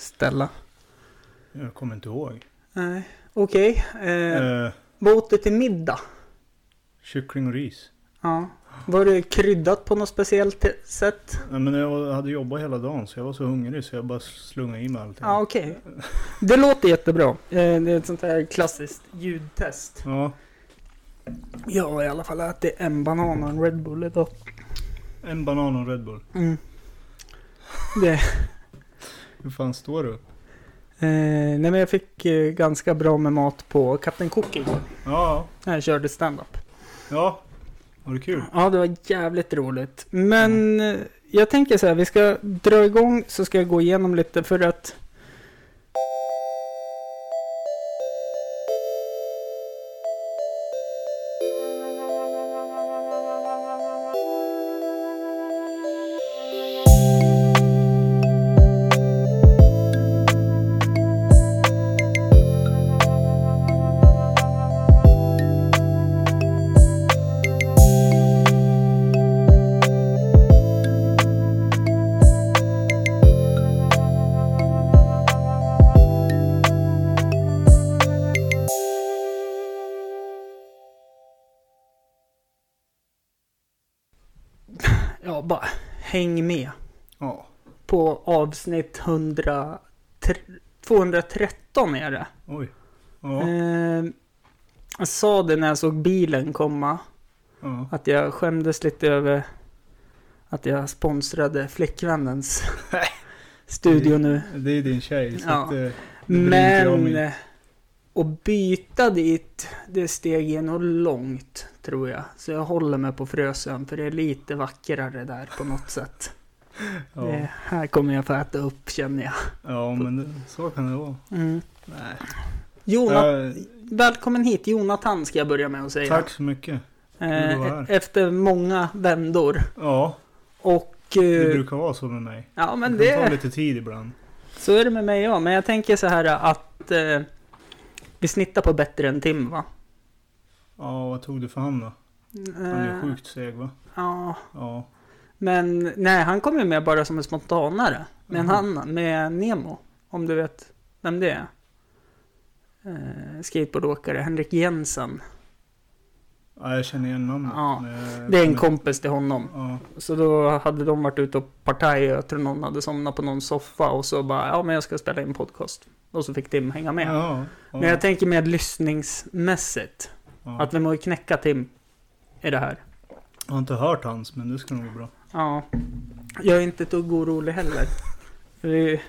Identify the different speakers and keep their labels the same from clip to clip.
Speaker 1: ställa?
Speaker 2: Jag kommer inte ihåg.
Speaker 1: Nej. Okej. Eh,
Speaker 2: Eh,
Speaker 1: Vad åt du till middag?
Speaker 2: kyckling och ris.
Speaker 1: Ja. Var det kryddat på något speciellt te- sätt?
Speaker 2: Nej, men jag var- hade jobbat hela dagen så jag var så hungrig så jag bara slungade i mig allting.
Speaker 1: Ja, okej. Det låter jättebra. Eh, Det är ett sånt här klassiskt ljudtest.
Speaker 2: Ja,
Speaker 1: Jag har i alla fall ätit en banan och en Red Bull idag.
Speaker 2: en banan och en Red Bull.
Speaker 1: Mm. Det,
Speaker 2: Hur fan står du upp?
Speaker 1: eh, nej men jag fick eh, ganska bra med mat på Kapten Cook igår.
Speaker 2: Ja,
Speaker 1: När jag körde stand-up.
Speaker 2: ja. Var det kul?
Speaker 1: Ja, det var jävligt roligt. Men eh, jag tänker så här, vi ska dra igång så ska jag gå igenom lite för att... Ja, bara häng med.
Speaker 2: Ja.
Speaker 1: På avsnitt 100... 213 är det.
Speaker 2: Oj. Ja.
Speaker 1: Eh, jag sa det när jag såg bilen komma.
Speaker 2: ja.
Speaker 1: Att jag skämdes lite över att jag sponsrade flickvännens studio nu.
Speaker 2: Det är din tjej så
Speaker 1: Ja.
Speaker 2: att, eh, det bryr inte jag
Speaker 1: Men
Speaker 2: mig.
Speaker 1: eh, att byta dit, det steg är nog långt tror jag. Så jag håller mig på Frösön för det är lite vackrare där på något sätt. Det,
Speaker 2: Ja.
Speaker 1: här kommer jag få äta upp känner jag.
Speaker 2: ja, men det, så kan det vara.
Speaker 1: Mm.
Speaker 2: Nej.
Speaker 1: Jonat,
Speaker 2: Eh,
Speaker 1: välkommen hit Jonathan ska jag börja med att säga.
Speaker 2: tack så mycket.
Speaker 1: Eh,
Speaker 2: du var här.
Speaker 1: efter många vändor.
Speaker 2: Ja,
Speaker 1: Och...
Speaker 2: det
Speaker 1: Eh,
Speaker 2: brukar vara så med mig.
Speaker 1: ja men
Speaker 2: det kan ta
Speaker 1: det...
Speaker 2: lite tid ibland.
Speaker 1: Så är det med mig ja. Men jag tänker så här att... Eh, vi snittar på bättre än Tim va?
Speaker 2: Ja, vad tog du för han då? Han är
Speaker 1: Eh,
Speaker 2: sjukt seg va?
Speaker 1: Ja.
Speaker 2: Ja.
Speaker 1: Men nej, han kom ju med bara som en spontanare. Men
Speaker 2: Mhm.
Speaker 1: han med Nemo, om du vet vem det är. Eh, skateboardåkare, Henrik Jensen.
Speaker 2: ja, jag känner igen namnet.
Speaker 1: Ja,
Speaker 2: men jag-
Speaker 1: Det är en
Speaker 2: men-
Speaker 1: kompis till honom.
Speaker 2: Ja,
Speaker 1: Så då hade de varit ute och partajat, jag tror någon hade somnat på någon soffa och så bara, ja men jag ska spela in podcast. Och så fick Tim hänga med.
Speaker 2: ja, ja,
Speaker 1: Men jag tänker mer lyssningsmässigt.
Speaker 2: ja.
Speaker 1: Att vi må ju knäcka Tim i det här.
Speaker 2: Jag har inte hört hans, men det ska nog gå bra.
Speaker 1: Ja. Jag är inte ett dugg orolig heller. Vi,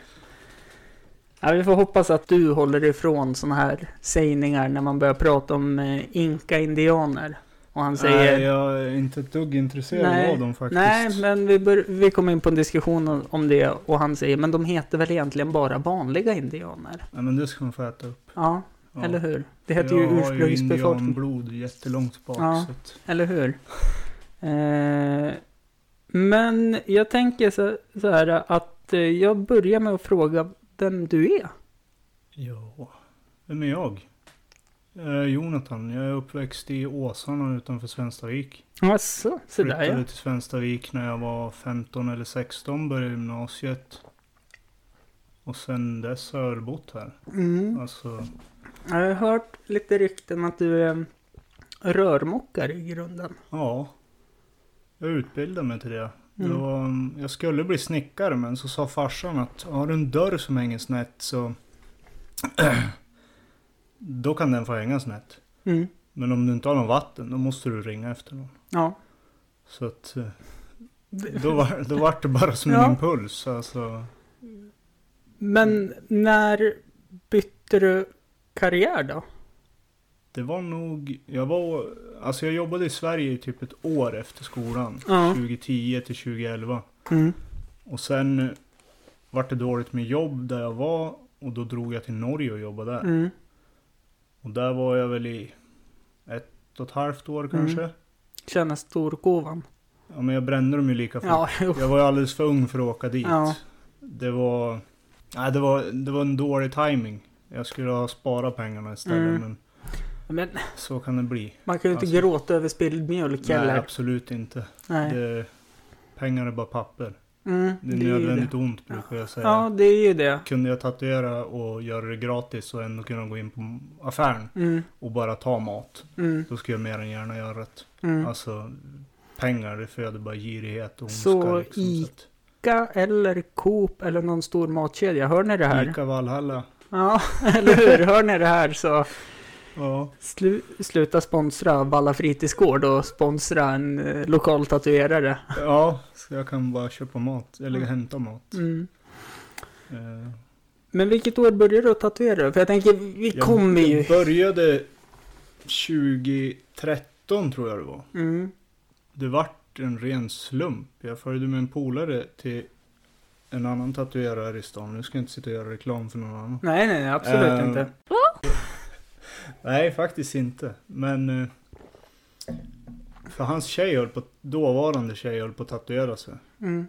Speaker 1: ja, vi får hoppas att du håller ifrån sådana här sägningar när man börjar prata om eh, inka-indianer. Och han säger...
Speaker 2: Nej, jag är inte ett dugg intresserad
Speaker 1: Nej,
Speaker 2: av dem faktiskt.
Speaker 1: Nej, men vi, bör, vi kom in på en diskussion om- om det och han säger men de heter väl egentligen bara vanliga indianer?
Speaker 2: Nej, men det ska man få äta upp.
Speaker 1: Ja,
Speaker 2: Ja.
Speaker 1: eller hur? Det heter ju
Speaker 2: Jag har ju
Speaker 1: ursprungsbefolkning.
Speaker 2: indianblod jättelångt bak.
Speaker 1: Ja.
Speaker 2: Så att,
Speaker 1: Eller hur? Eh, men jag tänker så, så här att eh, jag börjar med att fråga vem du är.
Speaker 2: ja. Vem är jag? Eh, Jonathan, jag är uppväxt i Åsarna utanför Svenstavik.
Speaker 1: Jaså, så där
Speaker 2: Flyttade
Speaker 1: ja.
Speaker 2: till Svenstavik när jag var 15 eller 16, började gymnasiet. Och sen dess har jag bott här.
Speaker 1: Mm.
Speaker 2: Alltså,
Speaker 1: Jag har hört lite rykten att du är en rörmokare i grunden.
Speaker 2: ja. Jag utbildade mig till det. det
Speaker 1: Mm.
Speaker 2: var, jag skulle bli snickare men så sa farsan att har du en dörr som hänger snett så då kan den få hänga snett.
Speaker 1: Mm.
Speaker 2: Men om du inte har någon vatten då måste du ringa efter någon.
Speaker 1: Ja.
Speaker 2: Så att eh, då var, då var det bara som
Speaker 1: Ja.
Speaker 2: en impuls. Alltså,
Speaker 1: Men när bytte du karriär då?
Speaker 2: Det var nog, jag var, alltså jag jobbade i Sverige i typ ett år efter skolan.
Speaker 1: Ja.
Speaker 2: 2010 till 2011.
Speaker 1: Mm.
Speaker 2: Och sen eh, vart det dåligt med jobb där jag var och då drog jag till Norge och jobbade där.
Speaker 1: Mm.
Speaker 2: Och där var jag väl i ett och ett halvt
Speaker 1: Mm.
Speaker 2: år kanske.
Speaker 1: Tjäna storkovan.
Speaker 2: Ja men jag brände dem ju lika fort.
Speaker 1: Ja, jo.
Speaker 2: Jag var ju alldeles för ung för att åka dit.
Speaker 1: Ja.
Speaker 2: Det var, nej det var, det var en dålig timing. Jag skulle ha sparat pengarna istället
Speaker 1: Mm.
Speaker 2: men
Speaker 1: Men
Speaker 2: så kan det bli.
Speaker 1: man kan ju inte
Speaker 2: Alltså-
Speaker 1: gråta över spilld mjölk
Speaker 2: Nej
Speaker 1: heller.
Speaker 2: absolut inte.
Speaker 1: Nej.
Speaker 2: Det, pengar är bara papper.
Speaker 1: Mm,
Speaker 2: Det är
Speaker 1: det är ju det.
Speaker 2: nödvändigt ont brukar jag säga.
Speaker 1: Ja, det är ju det.
Speaker 2: Kunde jag tatuera och göra det gratis och ändå kunna gå in på affären
Speaker 1: Mm,
Speaker 2: och bara ta mat.
Speaker 1: mm,
Speaker 2: Då skulle jag mer än gärna göra det.
Speaker 1: mm.
Speaker 2: Alltså pengar det föder bara girighet och ondska.
Speaker 1: Så
Speaker 2: liksom,
Speaker 1: i-
Speaker 2: så att-
Speaker 1: Ica eller Coop eller någon stor matkedja. Hör ni det här?
Speaker 2: Ica Valhalla.
Speaker 1: Ja, eller hur? Hör ni det här så
Speaker 2: Ja.
Speaker 1: slu sluta sponsra Valla fritidsgård och sponsra en eh, lokal tatuerare.
Speaker 2: ja, så jag kan bara köpa mat eller
Speaker 1: Mm.
Speaker 2: hämta mat.
Speaker 1: Mm.
Speaker 2: Eh,
Speaker 1: Men vilket år började du tatuera? För jag tänker, vi
Speaker 2: jag-
Speaker 1: kommer ju...
Speaker 2: Jag började 2013 tror jag det var.
Speaker 1: Mm,
Speaker 2: Det vart en ren slump. Jag följde med en polare till en annan tatuerare i stan. Nu ska jag inte sitta och göra reklam för någon annan.
Speaker 1: nej, nej, nej, absolut
Speaker 2: Ehm,
Speaker 1: inte.
Speaker 2: Nej, faktiskt inte. Men... eh, För hans tjej höll på, dåvarande tjej höll på att tatuera sig.
Speaker 1: Mm,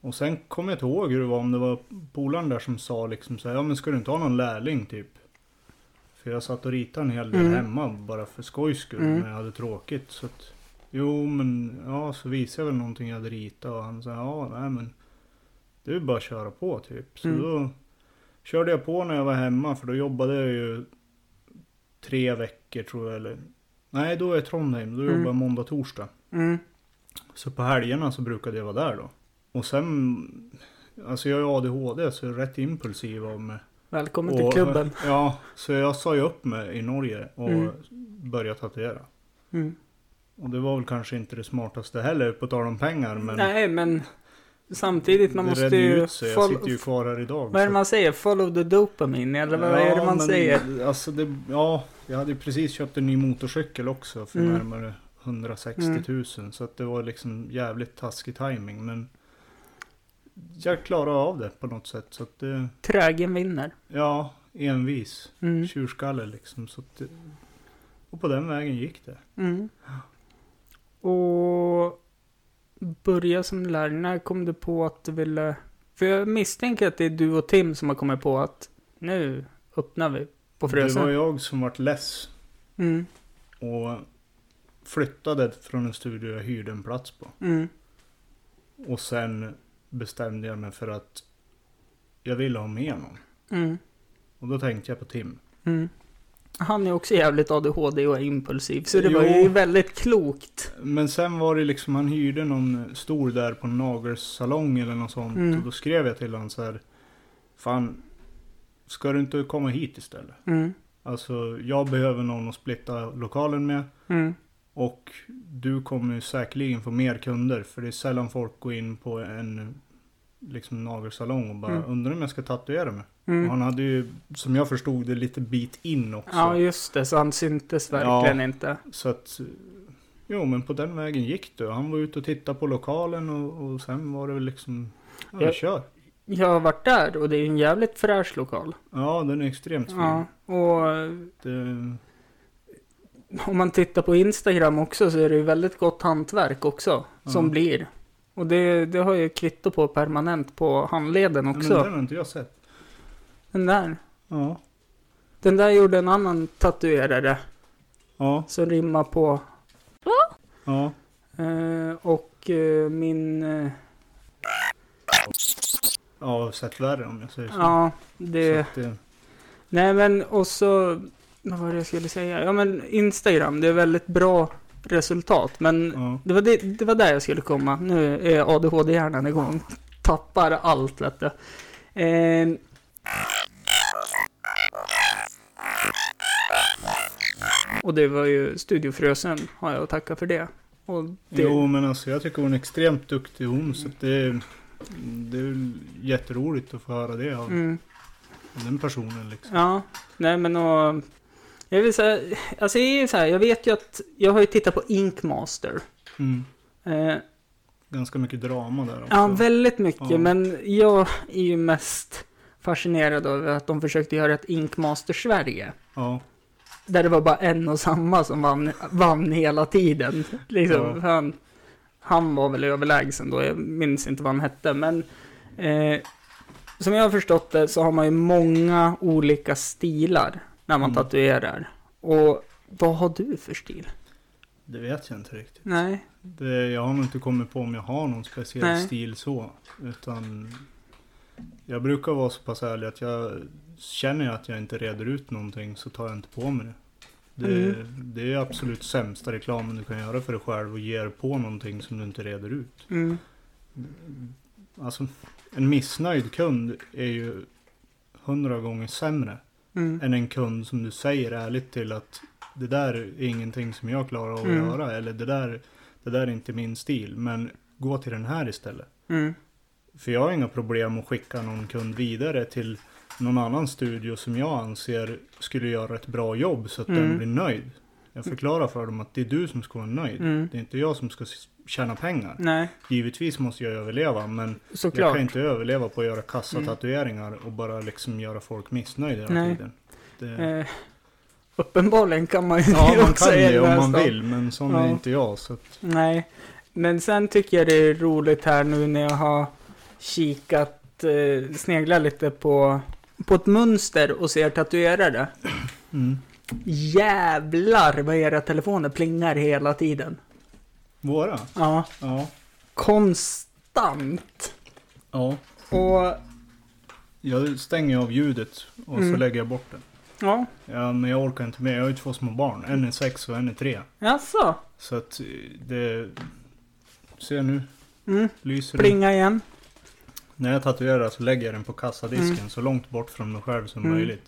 Speaker 2: Och sen kommer jag inte ihåg hur det var, om det var polaren där som sa liksom så här, ja men ska du inte ha någon lärling typ? För jag satt och ritade en hel del
Speaker 1: Mm.
Speaker 2: hemma bara för skojs skull
Speaker 1: Mm.
Speaker 2: när jag hade tråkigt. Så att, jo men ja, så visade jag väl någonting jag hade ritat och han sa ja nej men det är ju bara att köra på typ. Så
Speaker 1: Mm.
Speaker 2: då körde jag på när jag var hemma för då jobbade jag ju tre veckor tror jag eller nej då är jag i Trondheim, då
Speaker 1: Mm.
Speaker 2: jobbar jag måndag, torsdag.
Speaker 1: mm,
Speaker 2: Så på helgerna så brukade jag vara där då. Och sen, alltså jag är ADHD så jag är rätt impulsiv av mig.
Speaker 1: välkommen
Speaker 2: Och-
Speaker 1: till klubben.
Speaker 2: Ja, så jag sa ju upp mig i Norge och
Speaker 1: Mm.
Speaker 2: började tatuera.
Speaker 1: Mm.
Speaker 2: Och det var väl kanske inte det smartaste heller, på tal om pengar. Men
Speaker 1: Nej, men samtidigt, man
Speaker 2: det
Speaker 1: måste
Speaker 2: redde
Speaker 1: ju...
Speaker 2: ut sig. Jag
Speaker 1: fol-
Speaker 2: sitter ju kvar här idag.
Speaker 1: Vad är det
Speaker 2: så-
Speaker 1: man säger? Follow the dopamine, eller vad är det
Speaker 2: Ja,
Speaker 1: man
Speaker 2: men
Speaker 1: säger?
Speaker 2: Alltså det, ja, jag hade ju precis köpt en ny motorcykel också för
Speaker 1: Mm.
Speaker 2: närmare 160
Speaker 1: Mm.
Speaker 2: 000. Så att det var liksom jävligt taskig timing Men jag klarade av det på något sätt. Så att det,
Speaker 1: Trägen vinner.
Speaker 2: ja, envis.
Speaker 1: Mm.
Speaker 2: Tjurskalle liksom. Så att det, och på den vägen gick det.
Speaker 1: Mm. Och börja som lärare, när kom du på att du ville... För jag misstänker att det är du och Tim som har kommit på att nu öppnar vi på
Speaker 2: det var
Speaker 1: Frösön.
Speaker 2: jag som vart less
Speaker 1: Mm,
Speaker 2: och flyttade från en studio jag hyrde en plats på.
Speaker 1: mm,
Speaker 2: Och sen bestämde jag mig för att jag ville ha med någon.
Speaker 1: mm,
Speaker 2: Och då tänkte jag på Tim.
Speaker 1: mm. Han är också jävligt ADHD och är impulsiv, så det var
Speaker 2: Jo.
Speaker 1: ju väldigt klokt.
Speaker 2: Men sen var det liksom, han hyrde någon stor där på en nagelsalong eller något sånt.
Speaker 1: Mm.
Speaker 2: Och då skrev jag till honom så här. Fan, ska du inte komma hit istället?
Speaker 1: Mm,
Speaker 2: Alltså, jag behöver någon att splitta lokalen med.
Speaker 1: mm,
Speaker 2: Och du kommer ju säkerligen få mer kunder. För det är sällan folk går in på en liksom, nagelsalong och bara
Speaker 1: Mm.
Speaker 2: undrar om jag ska tatuera mig. Och
Speaker 1: mm.
Speaker 2: han hade ju, som jag förstod det, lite bit in också.
Speaker 1: Ja, just det, så han syntes verkligen inte.
Speaker 2: Så att, eh, jo men på den vägen gick det. Han var ute och tittade på lokalen och, och sen var det väl liksom, ja vi
Speaker 1: Jag-
Speaker 2: kör.
Speaker 1: Jag har varit där och det är en jävligt fräsch lokal.
Speaker 2: Ja den är extremt fin.
Speaker 1: Ja, och eh,
Speaker 2: Det,
Speaker 1: om man tittar på Instagram också så är det ju väldigt gott hantverk också som
Speaker 2: Ja.
Speaker 1: blir. Och det, det har jag ju kvitto på permanent på handleden
Speaker 2: men
Speaker 1: också.
Speaker 2: den har inte jag sett.
Speaker 1: Den där.
Speaker 2: Ja.
Speaker 1: Den där gjorde en annan tatuerare
Speaker 2: Ja,
Speaker 1: som rimmar på.
Speaker 2: ja.
Speaker 1: Eh, och eh, min... Eh,
Speaker 2: Ja, jag har sett värre om jag säger så.
Speaker 1: ja,
Speaker 2: Så
Speaker 1: det...
Speaker 2: att, eh,
Speaker 1: Nej men och så... Vad var det jag skulle säga? Ja men Instagram, det är väldigt bra resultat. Men
Speaker 2: ja.
Speaker 1: Det var, det, det var där jag skulle komma. Nu är ADHD-hjärnan igång. Tappar allt vet du. Eh, och det var ju Studio Frösön har jag att tacka för det. Och det
Speaker 2: Jo men alltså jag tycker hon är extremt duktig hon så att det, det är väl jätteroligt att få höra det av
Speaker 1: mm,
Speaker 2: den personen liksom.
Speaker 1: ja, nej men och... Jag vill säga, alltså det är ju så här, jag vet ju att, jag har ju tittat på Ink Master.
Speaker 2: Mm.
Speaker 1: Eh,
Speaker 2: Ganska mycket drama där också.
Speaker 1: Ja, väldigt mycket.
Speaker 2: Ja.
Speaker 1: Men jag är ju mest fascinerad över att de försökte göra ett Ink Master Sverige.
Speaker 2: ja.
Speaker 1: Där det var bara en och samma som vann, vann hela tiden. Liksom,
Speaker 2: Ja.
Speaker 1: han, han var väl överlägsen då, jag minns inte vad han hette. Men eh, som jag har förstått det så har man ju många olika stilar när man
Speaker 2: Mm.
Speaker 1: tatuerar. Och vad har du för stil?
Speaker 2: Det vet jag inte riktigt.
Speaker 1: Nej,
Speaker 2: Det, jag har nog inte kommit på om jag har någon speciell
Speaker 1: Nej.
Speaker 2: stil så. Utan jag brukar vara så pass ärlig att jag känner jag att jag inte reder ut någonting så tar jag inte på mig det. Det,
Speaker 1: Mm.
Speaker 2: det är absolut sämsta reklamen du kan göra för dig själv och ger på någonting som du inte reder ut.
Speaker 1: Mm.
Speaker 2: Alltså, en missnöjd kund är ju hundra gånger sämre
Speaker 1: Mm.
Speaker 2: än en kund som du säger ärligt till att det där är ingenting som jag klarar av att
Speaker 1: Mm.
Speaker 2: göra eller det där, det där är inte min stil men gå till den här istället.
Speaker 1: Mm.
Speaker 2: För jag har inga problem att skicka någon kund vidare till någon annan studio som jag anser skulle göra ett bra jobb så att
Speaker 1: Mm.
Speaker 2: den blir nöjd. Jag förklarar för dem att det är du som ska vara nöjd.
Speaker 1: Mm.
Speaker 2: Det är inte jag som ska s- tjäna pengar.
Speaker 1: Nej,
Speaker 2: Givetvis måste jag överleva men jag
Speaker 1: såklart.
Speaker 2: kan inte överleva på att göra kassa
Speaker 1: Mm.
Speaker 2: tatueringar och bara liksom göra folk missnöjda hela
Speaker 1: Nej.
Speaker 2: tiden. Det...
Speaker 1: Eh, uppenbarligen kan man ju
Speaker 2: Ja,
Speaker 1: det
Speaker 2: man
Speaker 1: också
Speaker 2: kan
Speaker 1: i
Speaker 2: det
Speaker 1: den
Speaker 2: om
Speaker 1: här
Speaker 2: man
Speaker 1: stan.
Speaker 2: vill, men sån
Speaker 1: Ja.
Speaker 2: är inte jag. Så att,
Speaker 1: Nej, men sen tycker jag det är roligt här nu när jag har kikat, eh, sneglat lite på, på ett mönster och ser tatuerare.
Speaker 2: mm.
Speaker 1: Jävlar vad era telefoner plingar hela tiden.
Speaker 2: Våra?
Speaker 1: Ja,
Speaker 2: Ja.
Speaker 1: konstant.
Speaker 2: ja.
Speaker 1: Och
Speaker 2: Jag stänger av ljudet och så
Speaker 1: Mm.
Speaker 2: lägger jag bort det.
Speaker 1: ja,
Speaker 2: Ja, men jag orkar inte mer. Jag har ju två små barn. En är sex och en är tre.
Speaker 1: jaså?
Speaker 2: Så att eh, det... Se nu,
Speaker 1: Mm,
Speaker 2: lyser det.
Speaker 1: plinga igen.
Speaker 2: När jag tatuerar så lägger jag den på kassadisken
Speaker 1: Mm.
Speaker 2: så långt bort från mig själv som
Speaker 1: Mm.
Speaker 2: möjligt.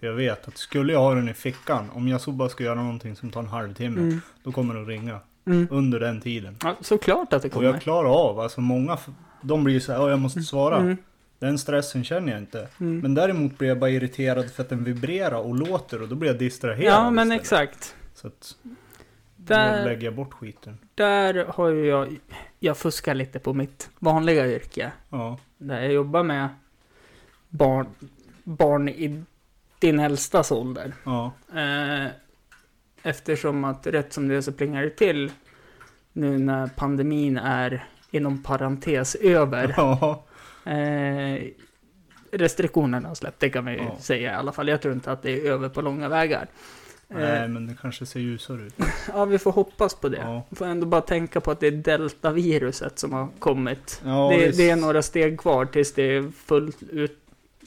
Speaker 2: För jag vet att skulle jag ha den i fickan, om jag så bara ska göra någonting som tar en halvtimme,
Speaker 1: Mm,
Speaker 2: då kommer den ringa.
Speaker 1: mm.
Speaker 2: Under den tiden.
Speaker 1: Ja, såklart att det
Speaker 2: Och jag
Speaker 1: kommer.
Speaker 2: klarar av, alltså många, f- de blir ju såhär, "Ja, jag måste svara.
Speaker 1: Mm,
Speaker 2: Den stressen känner jag inte.
Speaker 1: mm.
Speaker 2: Men däremot blir jag bara irriterad för att den vibrerar och låter och då blir jag distraherad
Speaker 1: ja, men
Speaker 2: istället.
Speaker 1: exakt.
Speaker 2: Så att, då
Speaker 1: Där-
Speaker 2: lägger jag bort skiten.
Speaker 1: Där har ju jag, jag fuskar lite på mitt vanliga yrke.
Speaker 2: Ja.
Speaker 1: Där jag jobbar med barn, barn i din äldstas ålder.
Speaker 2: Ja.
Speaker 1: Eh, eftersom att rätt som det är så plingar det till nu när pandemin är inom parentes över.
Speaker 2: Ja.
Speaker 1: Eh, restriktionerna har släppt, det kan man ju
Speaker 2: Ja.
Speaker 1: säga i alla fall. Jag tror inte att det är över på långa vägar. Eh,
Speaker 2: Nej, men det kanske ser ljusare ut.
Speaker 1: Ja, vi får hoppas på det.
Speaker 2: Ja.
Speaker 1: Får ändå bara tänka på att det är deltaviruset som har kommit.
Speaker 2: Ja,
Speaker 1: det,
Speaker 2: visst.
Speaker 1: det är några steg kvar tills det är fullt ut,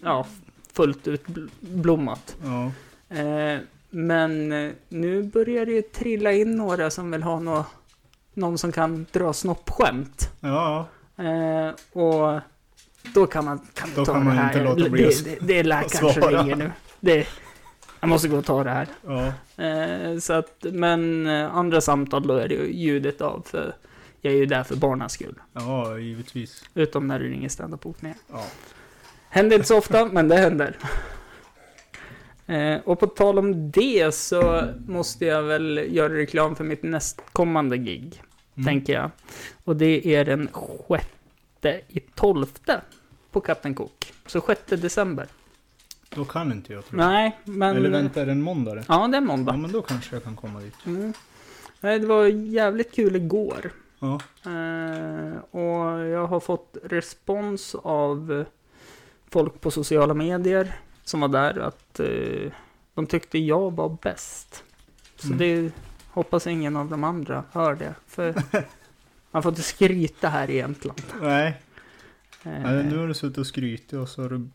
Speaker 1: ja, fullt ut bl- blommat.
Speaker 2: Ja.
Speaker 1: Eh, men eh, nu börjar det ju trilla in några som vill ha nå, någon som kan dra snoppskämt.
Speaker 2: Ja.
Speaker 1: Eh, och då kan man, kan vi
Speaker 2: Då
Speaker 1: ta
Speaker 2: kan
Speaker 1: det
Speaker 2: man
Speaker 1: här.
Speaker 2: inte låta bli
Speaker 1: det,
Speaker 2: att-
Speaker 1: det, det är läkaren
Speaker 2: att
Speaker 1: som
Speaker 2: svara.
Speaker 1: ringer nu. Det, jag måste gå och ta det här.
Speaker 2: Ja.
Speaker 1: Eh, så att, men eh, andra samtal då är det ju ljudet av för jag är ju där för barnens skull.
Speaker 2: Ja, givetvis.
Speaker 1: Utom när du ringer standup-bokningar.
Speaker 2: Ja.
Speaker 1: Händer inte så ofta, men det händer. Eh, och på tal om det så måste jag väl göra reklam för mitt nästkommande gig,
Speaker 2: Mm.
Speaker 1: tänker jag. Och det är den sjätte i tolfte på Kapten Cook. Så sjätte december.
Speaker 2: Då kan inte jag tro.
Speaker 1: Nej, men...
Speaker 2: Eller vänta, är det en måndag? det?
Speaker 1: Ja, det är
Speaker 2: Ja,
Speaker 1: måndag.
Speaker 2: men då kanske jag kan komma dit.
Speaker 1: Mm. Nej, det var jävligt kul igår.
Speaker 2: Ja.
Speaker 1: Eh, och jag har fått respons av folk på sociala medier som var där att eh, de tyckte jag var bäst. Så
Speaker 2: Mm.
Speaker 1: det hoppas ingen av de andra hör det. För man får inte skryta här i Jämtland.
Speaker 2: Nej.
Speaker 1: Eh,
Speaker 2: Nej, nu har du suttit och skrytit och så har du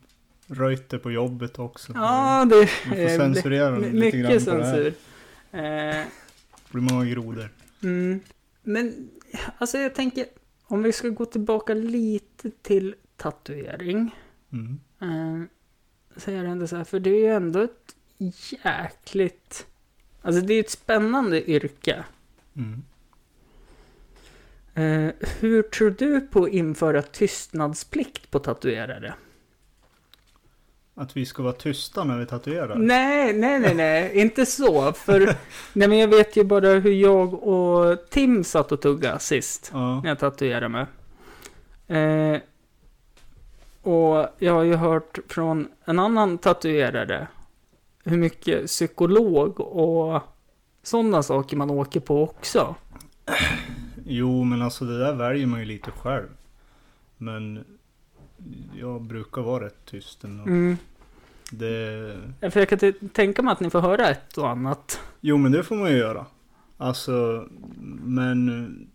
Speaker 2: röjt det på jobbet också.
Speaker 1: ja, det
Speaker 2: Vi får
Speaker 1: eh,
Speaker 2: censurera
Speaker 1: my-
Speaker 2: dem lite grann på
Speaker 1: mycket
Speaker 2: det här.
Speaker 1: censur. Eh,
Speaker 2: Det blir många grodor.
Speaker 1: Mm. Men alltså jag tänker, om vi ska gå tillbaka lite till tatuering.
Speaker 2: Mm.
Speaker 1: Eh, så är det ändå så här, för det är ju ändå ett jäkligt... Alltså det är ju ett spännande yrke.
Speaker 2: Mm.
Speaker 1: Eh, hur tror du på att införa tystnadsplikt på tatuerare?
Speaker 2: Att vi ska vara tysta när vi tatuerar?
Speaker 1: Nej, nej, nej, nej, inte så. För nej, men jag vet ju bara hur jag och Tim satt och tugga sist.
Speaker 2: Ja.
Speaker 1: när jag tatuerar mig. Eh, och jag har ju hört från en annan tatuerare hur mycket psykolog och sådana saker man åker på också.
Speaker 2: Jo, men alltså det där väljer man ju lite själv. Men jag brukar vara rätt tyst ändå.
Speaker 1: Mm.
Speaker 2: Det...
Speaker 1: För jag kan t- tänka mig att ni får höra ett och annat.
Speaker 2: Jo, men det får man ju göra. Alltså, men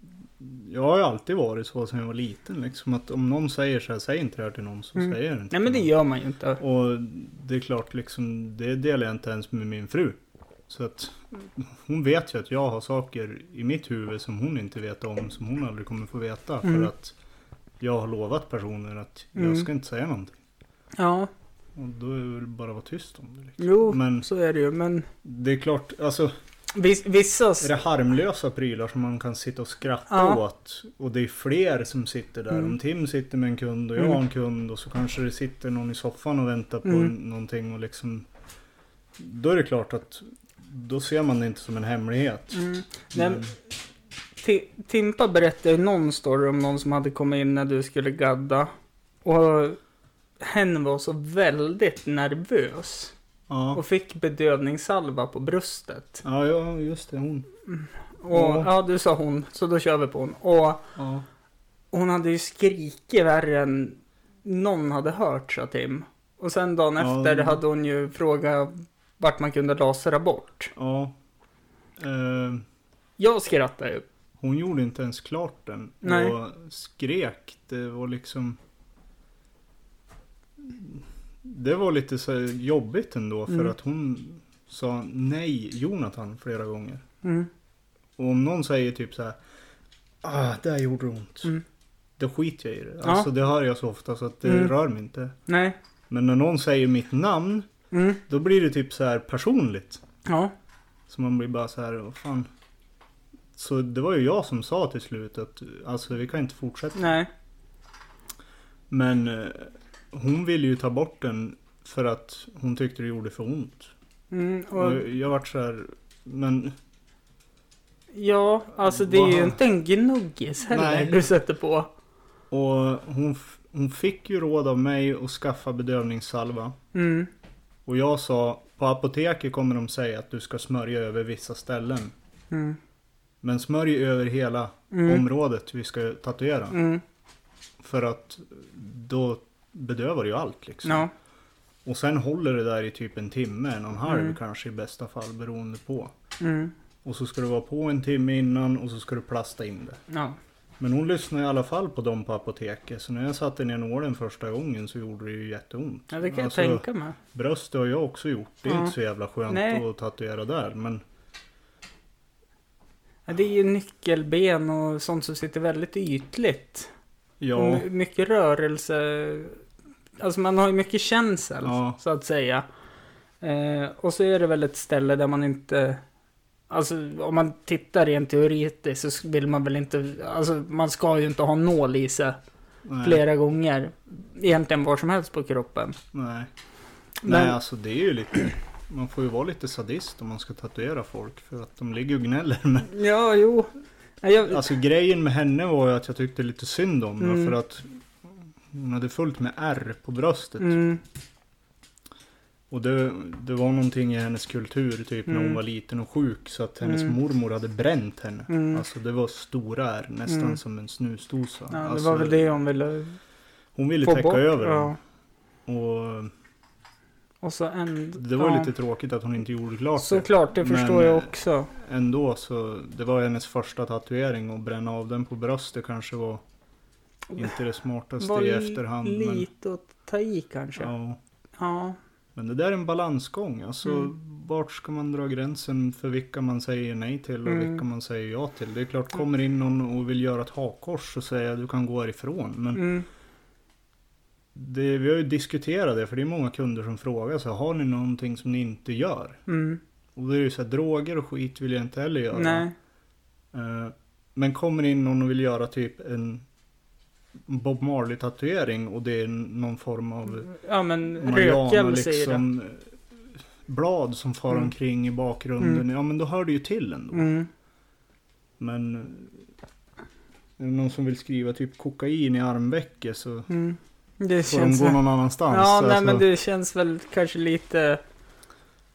Speaker 2: Jag har ju alltid varit så sedan jag var liten liksom. Att om någon säger så här, säg inte det här till någon så
Speaker 1: Mm.
Speaker 2: säger jag det inte
Speaker 1: Nej men det
Speaker 2: till
Speaker 1: gör man ju inte.
Speaker 2: någon. Och det är klart liksom, det delar jag inte ens med min fru. Så att hon vet ju att jag har saker i mitt huvud som hon inte vet om, som hon aldrig kommer få veta.
Speaker 1: Mm.
Speaker 2: För att jag har lovat personer att
Speaker 1: Mm.
Speaker 2: jag ska inte säga någonting.
Speaker 1: Ja,
Speaker 2: Och då är det väl bara att vara tyst om det. Liksom.
Speaker 1: jo,
Speaker 2: Men
Speaker 1: så är det ju. Men
Speaker 2: det är klart, alltså
Speaker 1: vis- vissa...
Speaker 2: Är det harmlösa prylar som man kan sitta och skratta
Speaker 1: Ja.
Speaker 2: åt? Och det är fler som sitter där.
Speaker 1: Mm.
Speaker 2: Om Tim sitter med en kund och jag
Speaker 1: Mm.
Speaker 2: har en kund och så kanske det sitter någon i soffan och väntar på
Speaker 1: Mm.
Speaker 2: någonting och liksom Då är det klart att då ser man det inte som en hemlighet.
Speaker 1: Mm. Nej, men- Ti- Timpa berättade ju någon story om någon som hade kommit in när du skulle gadda. Och hen var så väldigt nervös.
Speaker 2: ja.
Speaker 1: Och fick bedövningssalva på bröstet.
Speaker 2: Ja, ja, just det. Hon.
Speaker 1: Och
Speaker 2: Ja.
Speaker 1: ja, du sa hon, så då kör vi på hon. Och
Speaker 2: Ja.
Speaker 1: hon hade ju skrikit värre än någon hade hört, sa Tim. Och sen dagen
Speaker 2: Ja.
Speaker 1: efter hade hon ju frågat vart man kunde lasera bort.
Speaker 2: ja. Eh,
Speaker 1: Jag skrattade ju.
Speaker 2: hon gjorde inte ens klart den.
Speaker 1: Nej.
Speaker 2: Och skrek. Det var liksom... Det var lite så här jobbigt ändå för
Speaker 1: Mm.
Speaker 2: att hon sa nej Jonathan flera gånger. Och om någon säger typ så här. Ah, där gjorde det ont.
Speaker 1: Mm.
Speaker 2: Då skiter jag i det.
Speaker 1: Ja.
Speaker 2: Alltså det hör jag så ofta så att det
Speaker 1: Mm.
Speaker 2: rör mig inte.
Speaker 1: Nej.
Speaker 2: Men när någon säger mitt namn.
Speaker 1: Mm.
Speaker 2: Då blir det typ så här personligt.
Speaker 1: Ja.
Speaker 2: Så man blir bara så här, vad fan. Så det var ju jag som sa till slut att alltså vi kan inte fortsätta.
Speaker 1: Nej.
Speaker 2: Men eh, hon ville ju ta bort den för att hon tyckte det gjorde för ont.
Speaker 1: Mm. Och,
Speaker 2: Och jag vart så här, men
Speaker 1: ja, alltså det är ju
Speaker 2: Wow.
Speaker 1: inte en gnuggis heller
Speaker 2: Nej.
Speaker 1: du sätter på.
Speaker 2: och hon, f- hon fick ju råd av mig att skaffa bedövningssalva.
Speaker 1: Mm.
Speaker 2: Och jag sa, på apoteket kommer de säga att du ska smörja över vissa ställen.
Speaker 1: Mm.
Speaker 2: Men smörj över hela
Speaker 1: Mm.
Speaker 2: området vi ska tatuera.
Speaker 1: Mm.
Speaker 2: För att då bedövar det ju allt liksom.
Speaker 1: Ja.
Speaker 2: Och sen håller det där i typ en timme, en och en halv
Speaker 1: Mm.
Speaker 2: kanske i bästa fall beroende på.
Speaker 1: Mm.
Speaker 2: Och så ska du vara på en timme innan och så ska du plasta in det.
Speaker 1: Ja.
Speaker 2: Men hon lyssnade i alla fall på dem på apoteket. Så när jag satte ner nålen första gången så gjorde det ju jätteont.
Speaker 1: ja, det kan
Speaker 2: Alltså,
Speaker 1: jag tänka mig.
Speaker 2: Bröst har jag också gjort. Det är
Speaker 1: Ja.
Speaker 2: inte så jävla skönt
Speaker 1: Nej.
Speaker 2: att tatuera där. Men
Speaker 1: Ja, det är ju nyckelben och sånt som sitter väldigt ytligt.
Speaker 2: ja,
Speaker 1: Ja. Mycket rörelse. Alltså man har ju mycket känsel,
Speaker 2: Ja.
Speaker 1: så att säga. Eh, och så är det väl ett ställe där man inte... Alltså om man tittar rent teoretiskt så vill man väl inte... Alltså man ska ju inte ha nål i sig
Speaker 2: nej,
Speaker 1: flera gånger. Egentligen var som helst på kroppen.
Speaker 2: nej. nej,
Speaker 1: Men-
Speaker 2: alltså det är ju lite. Man får ju vara lite sadist om man ska tatuera folk. För att de ligger och gnäller. Men
Speaker 1: Ja, jo. Nej, Jag,
Speaker 2: Alltså grejen med henne var ju att jag tyckte lite synd om henne
Speaker 1: Mm.
Speaker 2: för att hon hade fullt med R på bröstet.
Speaker 1: mm,
Speaker 2: Och det, det var någonting i hennes kultur typ när
Speaker 1: Mm.
Speaker 2: hon var liten och sjuk så att hennes
Speaker 1: Mm.
Speaker 2: mormor hade bränt henne.
Speaker 1: mm.
Speaker 2: Alltså det var stora R, nästan
Speaker 1: Mm.
Speaker 2: som en snusdosa.
Speaker 1: ja, det
Speaker 2: alltså,
Speaker 1: var väl det hon ville
Speaker 2: Hon ville
Speaker 1: få
Speaker 2: täcka
Speaker 1: bort.
Speaker 2: över
Speaker 1: ja.
Speaker 2: den. Och
Speaker 1: Och så en...
Speaker 2: det var
Speaker 1: ja.
Speaker 2: lite tråkigt att hon inte gjorde klart det.
Speaker 1: Såklart, det
Speaker 2: Men,
Speaker 1: förstår jag
Speaker 2: eh,
Speaker 1: också.
Speaker 2: Ändå så, det var hennes första tatuering och bränna av den på bröstet kanske var inte det smartaste
Speaker 1: Oh. Var
Speaker 2: i efterhand. Men,
Speaker 1: lite att ta i kanske. Ja.
Speaker 2: ja. Men det där är en balansgång. Alltså,
Speaker 1: Mm.
Speaker 2: Vart ska man dra gränsen för vilka man säger nej till och
Speaker 1: Mm.
Speaker 2: vilka man säger ja till? Det är klart, kommer in någon och vill göra ett hakkors så säger jag du kan gå härifrån. Men
Speaker 1: Mm.
Speaker 2: det, vi har ju diskuterat det, för det är många kunder som frågar så här, har ni någonting som ni inte gör?
Speaker 1: Mm.
Speaker 2: Och då är det ju så här, droger och skit vill jag inte heller göra.
Speaker 1: Nej.
Speaker 2: Eh, Men kommer in någon och vill göra typ en Bob Marley-tatuering och det är någon form av
Speaker 1: Ja men
Speaker 2: Mariana
Speaker 1: rökelse i det.
Speaker 2: liksom eh, blad som far
Speaker 1: Mm.
Speaker 2: omkring i bakgrunden.
Speaker 1: Mm.
Speaker 2: Ja men då hör det ju till ändå.
Speaker 1: Mm.
Speaker 2: Men eh, är det någon som vill skriva typ kokain i armvecket så
Speaker 1: Mm. Det
Speaker 2: får de
Speaker 1: känns...
Speaker 2: gå
Speaker 1: väl-
Speaker 2: någon annanstans.
Speaker 1: Ja,
Speaker 2: Alltså,
Speaker 1: nej men det känns väl kanske lite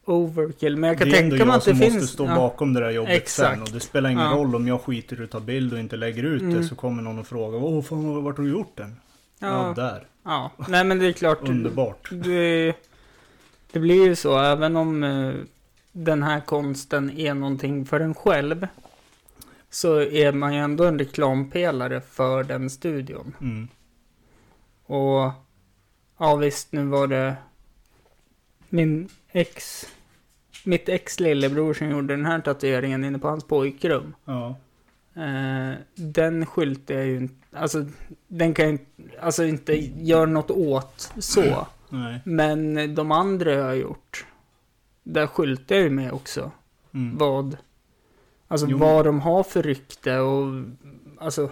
Speaker 1: overkill. Men jag kan
Speaker 2: det är ändå
Speaker 1: tänka mig
Speaker 2: jag
Speaker 1: att det
Speaker 2: som
Speaker 1: finns...
Speaker 2: måste stå
Speaker 1: ja.
Speaker 2: bakom det där jobbet sen.
Speaker 1: Exakt.
Speaker 2: Och det spelar ingen
Speaker 1: Ja.
Speaker 2: roll om jag skiter i att ta bild och inte lägger ut
Speaker 1: Mm.
Speaker 2: det så kommer någon och frågar Åh fan vart har du gjort den? Ja,
Speaker 1: Ja.
Speaker 2: där.
Speaker 1: ja. Nej men det är klart.
Speaker 2: Underbart.
Speaker 1: Det, det blir ju så, även om eh, den här konsten är någonting för en själv. så är man ju ändå en reklampelare för den studion.
Speaker 2: Mm.
Speaker 1: Och ja visst, nu var det min ex, mitt ex lillebror som gjorde den här tatueringen inne på hans pojkrum.
Speaker 2: Ja.
Speaker 1: Eh, den skylt är ju inte, alltså den kan ju inte- alltså inte göra något åt så.
Speaker 2: Nej.
Speaker 1: Men de andra jag har gjort, där skyltar jag ju med också
Speaker 2: Mm.
Speaker 1: vad, alltså
Speaker 2: Jo.
Speaker 1: vad de har för rykte och alltså,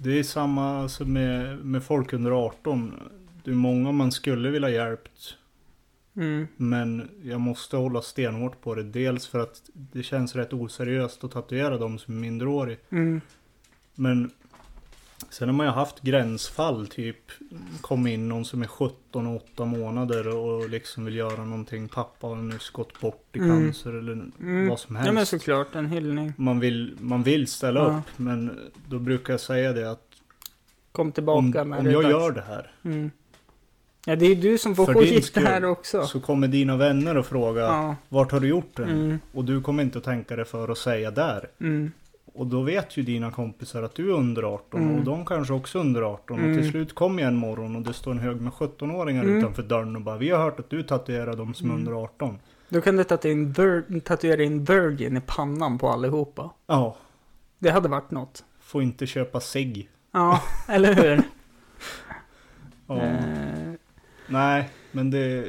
Speaker 2: Det är samma alltså, med, med folk under 18. Det är många man skulle vilja hjälpt.
Speaker 1: mm,
Speaker 2: Men jag måste hålla stenhårt på det. Dels för att det känns rätt oseriöst att tatuera dem som är minderårig.
Speaker 1: mm,
Speaker 2: Men sen har man ju haft gränsfall. Typ kom in någon som är 17 och 8 månader och liksom vill göra någonting. Pappa har nyss gått bort i
Speaker 1: Mm.
Speaker 2: cancer eller
Speaker 1: mm.
Speaker 2: vad som helst.
Speaker 1: Ja men såklart, en hyllning.
Speaker 2: man, vill, man vill ställa
Speaker 1: Ja.
Speaker 2: upp. Men då brukar jag säga det att
Speaker 1: Kom tillbaka
Speaker 2: om,
Speaker 1: när
Speaker 2: om
Speaker 1: det är
Speaker 2: jag
Speaker 1: dags.
Speaker 2: gör det här.
Speaker 1: Mm. Ja det är ju du som får
Speaker 2: För din
Speaker 1: skit
Speaker 2: skull.
Speaker 1: här också.
Speaker 2: Så kommer dina vänner och fråga
Speaker 1: Ja.
Speaker 2: vart har du gjort den?
Speaker 1: Mm,
Speaker 2: Och du kommer inte att tänka dig för att säga där.
Speaker 1: mm,
Speaker 2: Och då vet ju dina kompisar att du är under 18
Speaker 1: Mm.
Speaker 2: och de kanske också är under 18. Och
Speaker 1: Mm.
Speaker 2: till slut kommer jag en morgon och det står en hög med 17-åringar
Speaker 1: Mm.
Speaker 2: utanför dörren och bara Vi har hört att du tatuerar de som
Speaker 1: Mm.
Speaker 2: är under 18.
Speaker 1: Då kan du tatuera in, vir- tatuera in Virgin i pannan på allihopa.
Speaker 2: Ja,
Speaker 1: Det hade varit något.
Speaker 2: får inte köpa sig.
Speaker 1: Ja, eller hur?
Speaker 2: Ja.
Speaker 1: Eh,
Speaker 2: Nej, men det...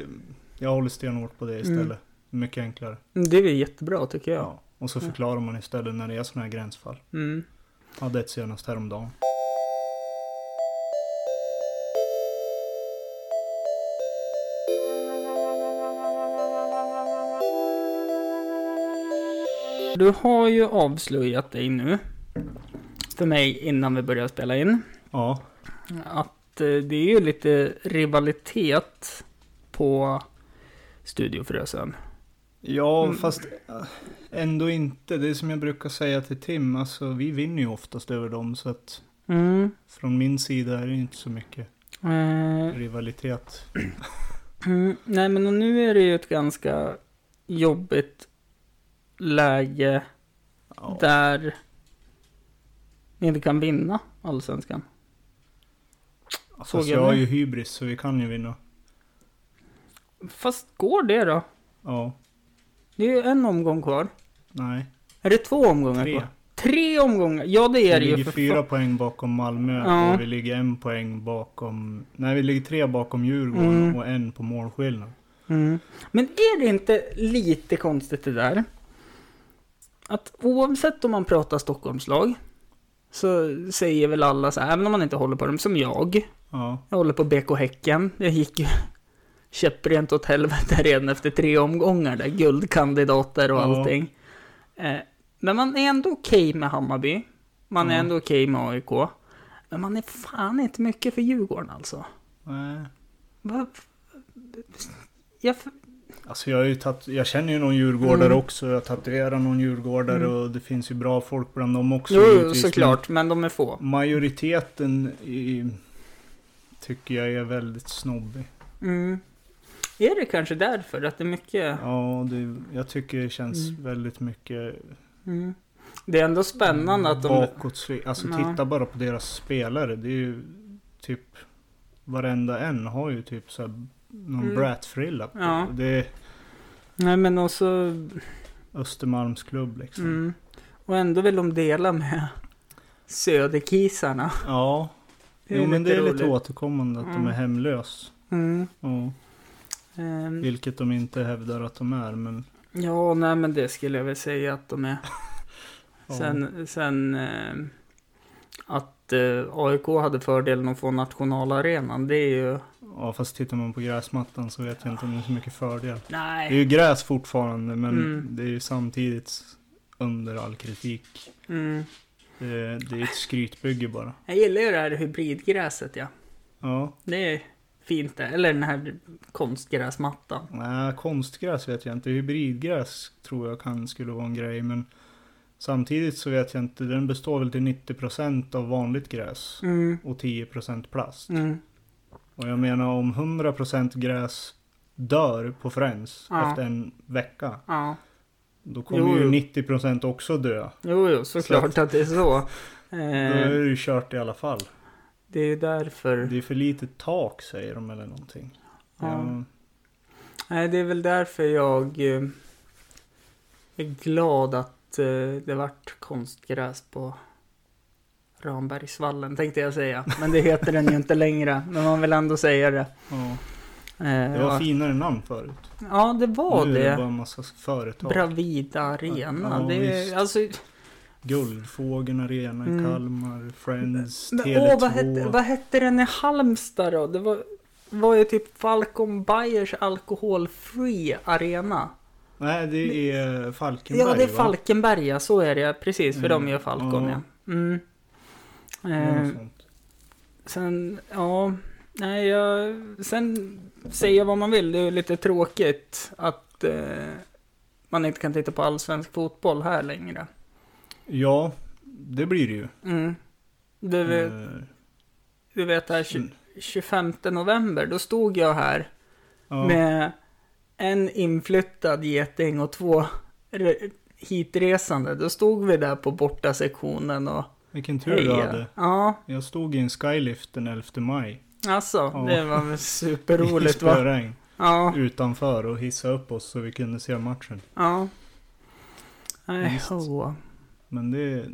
Speaker 2: Jag håller stenhårt på det
Speaker 1: Mm.
Speaker 2: istället. Mycket enklare.
Speaker 1: det är väl jättebra tycker jag.
Speaker 2: Ja. Och så förklarar man istället när det är sådana här gränsfall.
Speaker 1: Mm.
Speaker 2: Hade ett senast häromdagen.
Speaker 1: Du har ju avslöjat dig nu. För mig innan vi började spela in.
Speaker 2: Ja,
Speaker 1: Att eh, det är ju lite rivalitet på Studio Frösön.
Speaker 2: Ja,
Speaker 1: Mm.
Speaker 2: fast äh, ändå inte. Det är som jag brukar säga till Tim, alltså vi vinner ju oftast över dem. Så att
Speaker 1: Mm.
Speaker 2: från min sida är det inte så mycket
Speaker 1: Eh,
Speaker 2: rivalitet.
Speaker 1: Mm, nej men och nu är det ju ett ganska jobbigt läge
Speaker 2: Ja,
Speaker 1: där ni inte kan vinna Allsvenskan.
Speaker 2: fast
Speaker 1: såg jag
Speaker 2: jag har
Speaker 1: nu.
Speaker 2: ju hybris så vi kan ju vinna.
Speaker 1: Fast går det då?
Speaker 2: Ja,
Speaker 1: Det är ju en omgång kvar.
Speaker 2: nej.
Speaker 1: Är det två omgångar
Speaker 2: Tre.
Speaker 1: kvar? Tre omgångar? Ja det är
Speaker 2: Vi
Speaker 1: det ju
Speaker 2: ligger
Speaker 1: för
Speaker 2: fyra
Speaker 1: fan.
Speaker 2: poäng bakom Malmö
Speaker 1: Ja.
Speaker 2: och vi ligger en poäng bakom... Nej, vi ligger tre bakom Djurgården
Speaker 1: Mm.
Speaker 2: och en på målskillnad.
Speaker 1: Mm. Men är det inte lite konstigt det där? Att oavsett om man pratar Stockholmslag så säger väl alla så här, även om man inte håller på dem som jag,
Speaker 2: Ja,
Speaker 1: Jag håller på BK Häcken. Det gick ju käpprent åt helvete redan efter tre omgångar där. Guldkandidater och
Speaker 2: Ja.
Speaker 1: allting. Eh, Men man är ändå okej med Hammarby. Man är
Speaker 2: Mm.
Speaker 1: ändå okej med AIK. Men man är fan inte mycket för Djurgården alltså.
Speaker 2: nej.
Speaker 1: Va- Jag,
Speaker 2: Alltså jag, har ju tatt- jag känner ju någon djurgårdare
Speaker 1: Mm.
Speaker 2: också. Jag tatuerar någon djurgårdare
Speaker 1: Mm.
Speaker 2: och det finns ju bra folk bland dem också.
Speaker 1: jo,
Speaker 2: givetvis. Men
Speaker 1: såklart, men de är få.
Speaker 2: Majoriteten i, tycker jag är väldigt snobbig.
Speaker 1: Mm. Är det kanske därför att det är mycket...
Speaker 2: Ja, det, jag tycker det känns
Speaker 1: Mm.
Speaker 2: väldigt mycket
Speaker 1: Mm. Det är ändå spännande att de...
Speaker 2: bakåt. Alltså
Speaker 1: Ja.
Speaker 2: titta bara på deras spelare. Det är ju typ varenda en har ju typ så här någon
Speaker 1: Mm.
Speaker 2: brat-frilla på.
Speaker 1: Ja.
Speaker 2: Det är
Speaker 1: Nej, men också...
Speaker 2: Östermalms klubb liksom.
Speaker 1: Mm. Och ändå vill de dela med söderkisarna.
Speaker 2: Ja, jo, men det är lite återkommande att
Speaker 1: Mm.
Speaker 2: de är hemlös.
Speaker 1: Mm.
Speaker 2: Ja.
Speaker 1: Ehm,
Speaker 2: Vilket de inte hävdar att de är, men...
Speaker 1: ja, nej men det skulle jag väl säga att de är.
Speaker 2: Ja.
Speaker 1: Sen, sen ehm, att eh, AIK hade fördelen att få nationalarenan, det är ju...
Speaker 2: Ja, fast tittar man på gräsmattan så vet jag inte om det är så mycket fördel. Det är
Speaker 1: Nej.
Speaker 2: ju gräs fortfarande, men
Speaker 1: Mm.
Speaker 2: det är ju samtidigt under all kritik.
Speaker 1: Mm.
Speaker 2: Det, det är ett skrytbygge bara.
Speaker 1: Jag gillar ju det här hybridgräset ja.
Speaker 2: Ja,
Speaker 1: Det är fint det. Eller den här konstgräsmattan.
Speaker 2: nej, konstgräs vet jag inte. Hybridgräs tror jag kan skulle vara en grej, men samtidigt så vet jag inte. Den består väl till 90% av vanligt gräs
Speaker 1: Mm.
Speaker 2: och 10% plast.
Speaker 1: Mm.
Speaker 2: Och jag menar om 100% gräs dör på Friends
Speaker 1: Ja.
Speaker 2: efter en vecka.
Speaker 1: Ja.
Speaker 2: Då kommer
Speaker 1: Jo, jo.
Speaker 2: ju 90% också dö.
Speaker 1: Jo, jo, såklart att det är så.
Speaker 2: Då är det
Speaker 1: Eh,
Speaker 2: ju kört i alla fall.
Speaker 1: det är ju därför.
Speaker 2: Det är för lite tak säger de eller någonting.
Speaker 1: Ja.
Speaker 2: Ja.
Speaker 1: Nej, det är väl därför jag eh, är glad att eh, det vart konstgräs på Rambergsvallen tänkte jag säga. Men det heter den ju inte längre. Men man vill ändå säga det.
Speaker 2: Ja.
Speaker 1: Eh,
Speaker 2: Det var
Speaker 1: och-
Speaker 2: finare namn förut.
Speaker 1: Ja, det var
Speaker 2: nu är det bara
Speaker 1: det.
Speaker 2: en massa företag.
Speaker 1: Bravida Arena.
Speaker 2: Ja,
Speaker 1: det är,
Speaker 2: visst.
Speaker 1: alltså,
Speaker 2: Guldfågeln Arena i
Speaker 1: Mm.
Speaker 2: Kalmar, Friends,
Speaker 1: men,
Speaker 2: Tele2.
Speaker 1: åh, vad, hette, vad hette den i Halmstad då? Det var, var ju typ Falcon Bayers alkoholfri arena.
Speaker 2: Nej, det är Falkenberg
Speaker 1: ja, det är
Speaker 2: va?
Speaker 1: Falkenberg, ja, så är det. ja. Precis, för
Speaker 2: Mm,
Speaker 1: de gör Falcon,
Speaker 2: ja.
Speaker 1: ja. Mm.
Speaker 2: Eller
Speaker 1: Eh,
Speaker 2: något sånt.
Speaker 1: sen, ja. Nej, jag, sen säga vad man vill. Det är ju lite tråkigt att eh, man inte kan titta på allsvensk fotboll här längre.
Speaker 2: Ja, det blir det ju.
Speaker 1: Mm. Du, vet-
Speaker 2: Eh,
Speaker 1: du vet här, tju-
Speaker 2: Mm.
Speaker 1: 25 november, då stod jag här
Speaker 2: ja.
Speaker 1: med en inflyttad geting och två re- hitresande. Då stod vi där på borta sektionen och
Speaker 2: Vilken tur du
Speaker 1: hejade.
Speaker 2: hade.
Speaker 1: Ja,
Speaker 2: Jag stod i en skylift den 11 maj.
Speaker 1: alltså
Speaker 2: Ja.
Speaker 1: det var väl
Speaker 2: I
Speaker 1: superroligt va?
Speaker 2: spöregn.
Speaker 1: Ja,
Speaker 2: Utanför och hissade upp oss så vi kunde se matchen.
Speaker 1: ja. Nej,
Speaker 2: Visst.
Speaker 1: åh.
Speaker 2: Men det...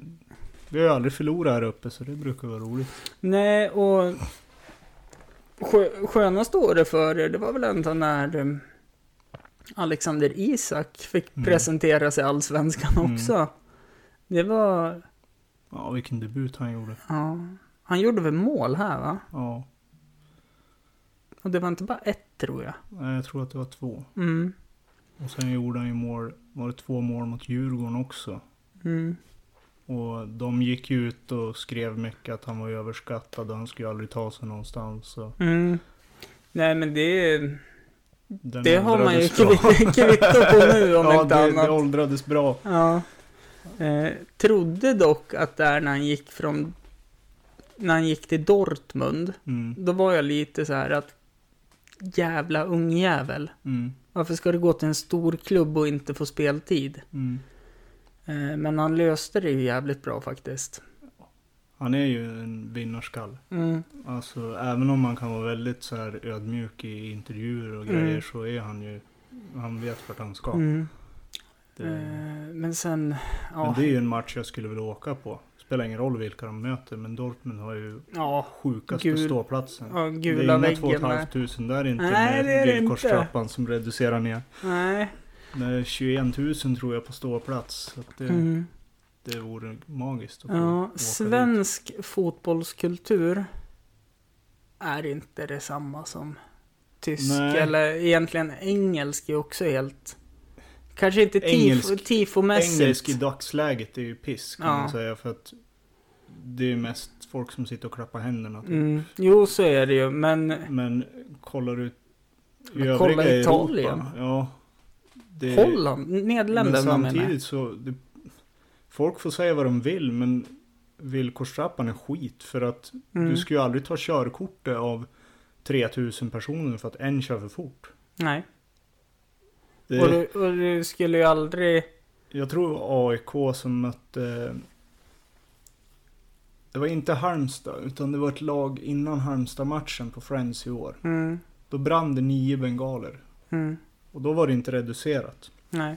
Speaker 2: Vi har ju aldrig förlorat här uppe så det brukar vara roligt.
Speaker 1: Nej, och skö- skönaste året för er, det var väl ändå när eh, Alexander Isak fick
Speaker 2: Mm.
Speaker 1: presentera sig i Allsvenskan
Speaker 2: Mm.
Speaker 1: också. Det var,
Speaker 2: Ja, vilken debut han gjorde.
Speaker 1: ja, han gjorde väl mål här va?
Speaker 2: Ja.
Speaker 1: Och det var inte bara ett tror jag.
Speaker 2: Nej, jag tror att det var två.
Speaker 1: Mm.
Speaker 2: Och sen gjorde han ju mål, var det två mål mot Djurgården också.
Speaker 1: Mm.
Speaker 2: Och de gick ju ut och skrev mycket att han var överskattad och han skulle ju aldrig ta sig någonstans. Så
Speaker 1: Mm. Nej men det,
Speaker 2: den
Speaker 1: det har man ju
Speaker 2: åldrades bra.
Speaker 1: kvitt- kvitto på nu om
Speaker 2: ja,
Speaker 1: inte
Speaker 2: det,
Speaker 1: annat.
Speaker 2: det åldrades bra.
Speaker 1: Ja. Eh, trodde dock att där när han gick från, när han gick till Dortmund,
Speaker 2: Mm,
Speaker 1: Då var jag lite så här att jävla ungjävel.
Speaker 2: mm,
Speaker 1: Varför ska du gå till en stor klubb och inte få speltid?
Speaker 2: mm.
Speaker 1: Eh, Men han löste det ju jävligt bra faktiskt.
Speaker 2: Han är ju en vinnarskalle.
Speaker 1: Mm.
Speaker 2: Alltså även om man kan vara väldigt så här ödmjuk i intervjuer och grejer
Speaker 1: Mm.
Speaker 2: så är han ju, han vet vart han ska.
Speaker 1: Mm.
Speaker 2: Det,
Speaker 1: Eh, Men sen,
Speaker 2: Men
Speaker 1: ja.
Speaker 2: det är ju en match jag skulle vilja åka på. Spelar ingen roll vilka de möter men Dortmund har ju
Speaker 1: Ja,
Speaker 2: sjukaste
Speaker 1: Gul-
Speaker 2: ståplatsen.
Speaker 1: ja
Speaker 2: det är
Speaker 1: gula
Speaker 2: inga två och ett
Speaker 1: väggen. där.
Speaker 2: halvt tusen där inte
Speaker 1: Nej, det är
Speaker 2: med
Speaker 1: det
Speaker 2: villkorstrappan som reducerar ner.
Speaker 1: Nej.
Speaker 2: Det är 21 000 tror jag på ståplats. Så att det,
Speaker 1: Mm.
Speaker 2: det vore magiskt att få
Speaker 1: Ja,
Speaker 2: åka dit.
Speaker 1: svensk fotbollskultur är inte detsamma som tysk.
Speaker 2: Nej.
Speaker 1: Eller egentligen engelsk är också helt... Kanske inte tifo,
Speaker 2: Engelsk-
Speaker 1: tifomässigt.
Speaker 2: Engelsk i dagsläget är ju piss kan
Speaker 1: Ja.
Speaker 2: man säga. För att det är mest folk som sitter och klappar händerna. Typ.
Speaker 1: Mm. Jo, så är det ju, men...
Speaker 2: Men kollar du i
Speaker 1: Men
Speaker 2: övriga
Speaker 1: kolla
Speaker 2: Europa.
Speaker 1: Italien.
Speaker 2: Ja, det,
Speaker 1: Holland? Nederländerna
Speaker 2: Men
Speaker 1: menar jag.
Speaker 2: samtidigt så, det, folk får säga vad de vill men villkorstrappan är skit för att
Speaker 1: Mm.
Speaker 2: du ska ju aldrig ta körkortet av 3000 personer för att en kör för fort.
Speaker 1: Nej.
Speaker 2: Det,
Speaker 1: Och, du, och du skulle ju aldrig...
Speaker 2: Jag tror AIK som mötte... Det var inte Halmstad utan det var ett lag innan Halmstad-matchen på Friends i år.
Speaker 1: Mm.
Speaker 2: Då brann det nio bengaler
Speaker 1: Mm.
Speaker 2: och då var det inte reducerat.
Speaker 1: Nej.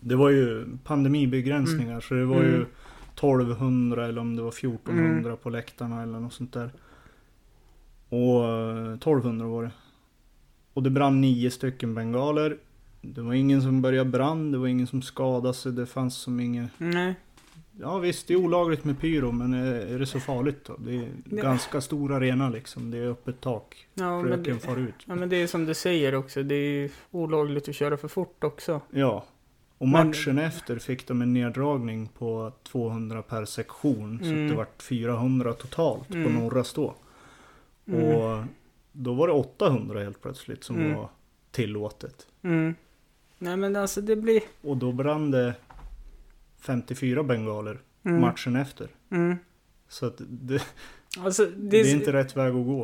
Speaker 2: Det var ju pandemibegränsningar så det var ju
Speaker 1: Mm.
Speaker 2: 1200 eller om det var 1400 på läktarna eller något sånt där. Och eh, 1200 var det. Och det brann nio stycken bengaler. Det var ingen som började brand, det var ingen som skadade sig, det fanns som ingen...
Speaker 1: Nej.
Speaker 2: Ja visst, det är olagligt med pyro men eh, är det så farligt då? Det är
Speaker 1: Nej.
Speaker 2: ganska stor arena liksom, det är öppet tak.
Speaker 1: Ja, men
Speaker 2: Röken
Speaker 1: det,
Speaker 2: far ut.
Speaker 1: ja, men det är som du säger också. Det är ju olagligt att köra för fort också.
Speaker 2: Ja. Och
Speaker 1: Men-
Speaker 2: matchen efter fick de en neddragning på 200 per sektion. Så
Speaker 1: Mm.
Speaker 2: att det vart 400 totalt
Speaker 1: Mm.
Speaker 2: på norra stå.
Speaker 1: Mm.
Speaker 2: Och då var det 800 helt plötsligt som
Speaker 1: Mm.
Speaker 2: var tillåtet.
Speaker 1: Mm. Nej, men alltså det blir...
Speaker 2: Och då brann det 54 bengaler
Speaker 1: Mm.
Speaker 2: matchen efter.
Speaker 1: Mm.
Speaker 2: Så att det,
Speaker 1: Alltså,
Speaker 2: det
Speaker 1: det
Speaker 2: är inte rätt väg att gå.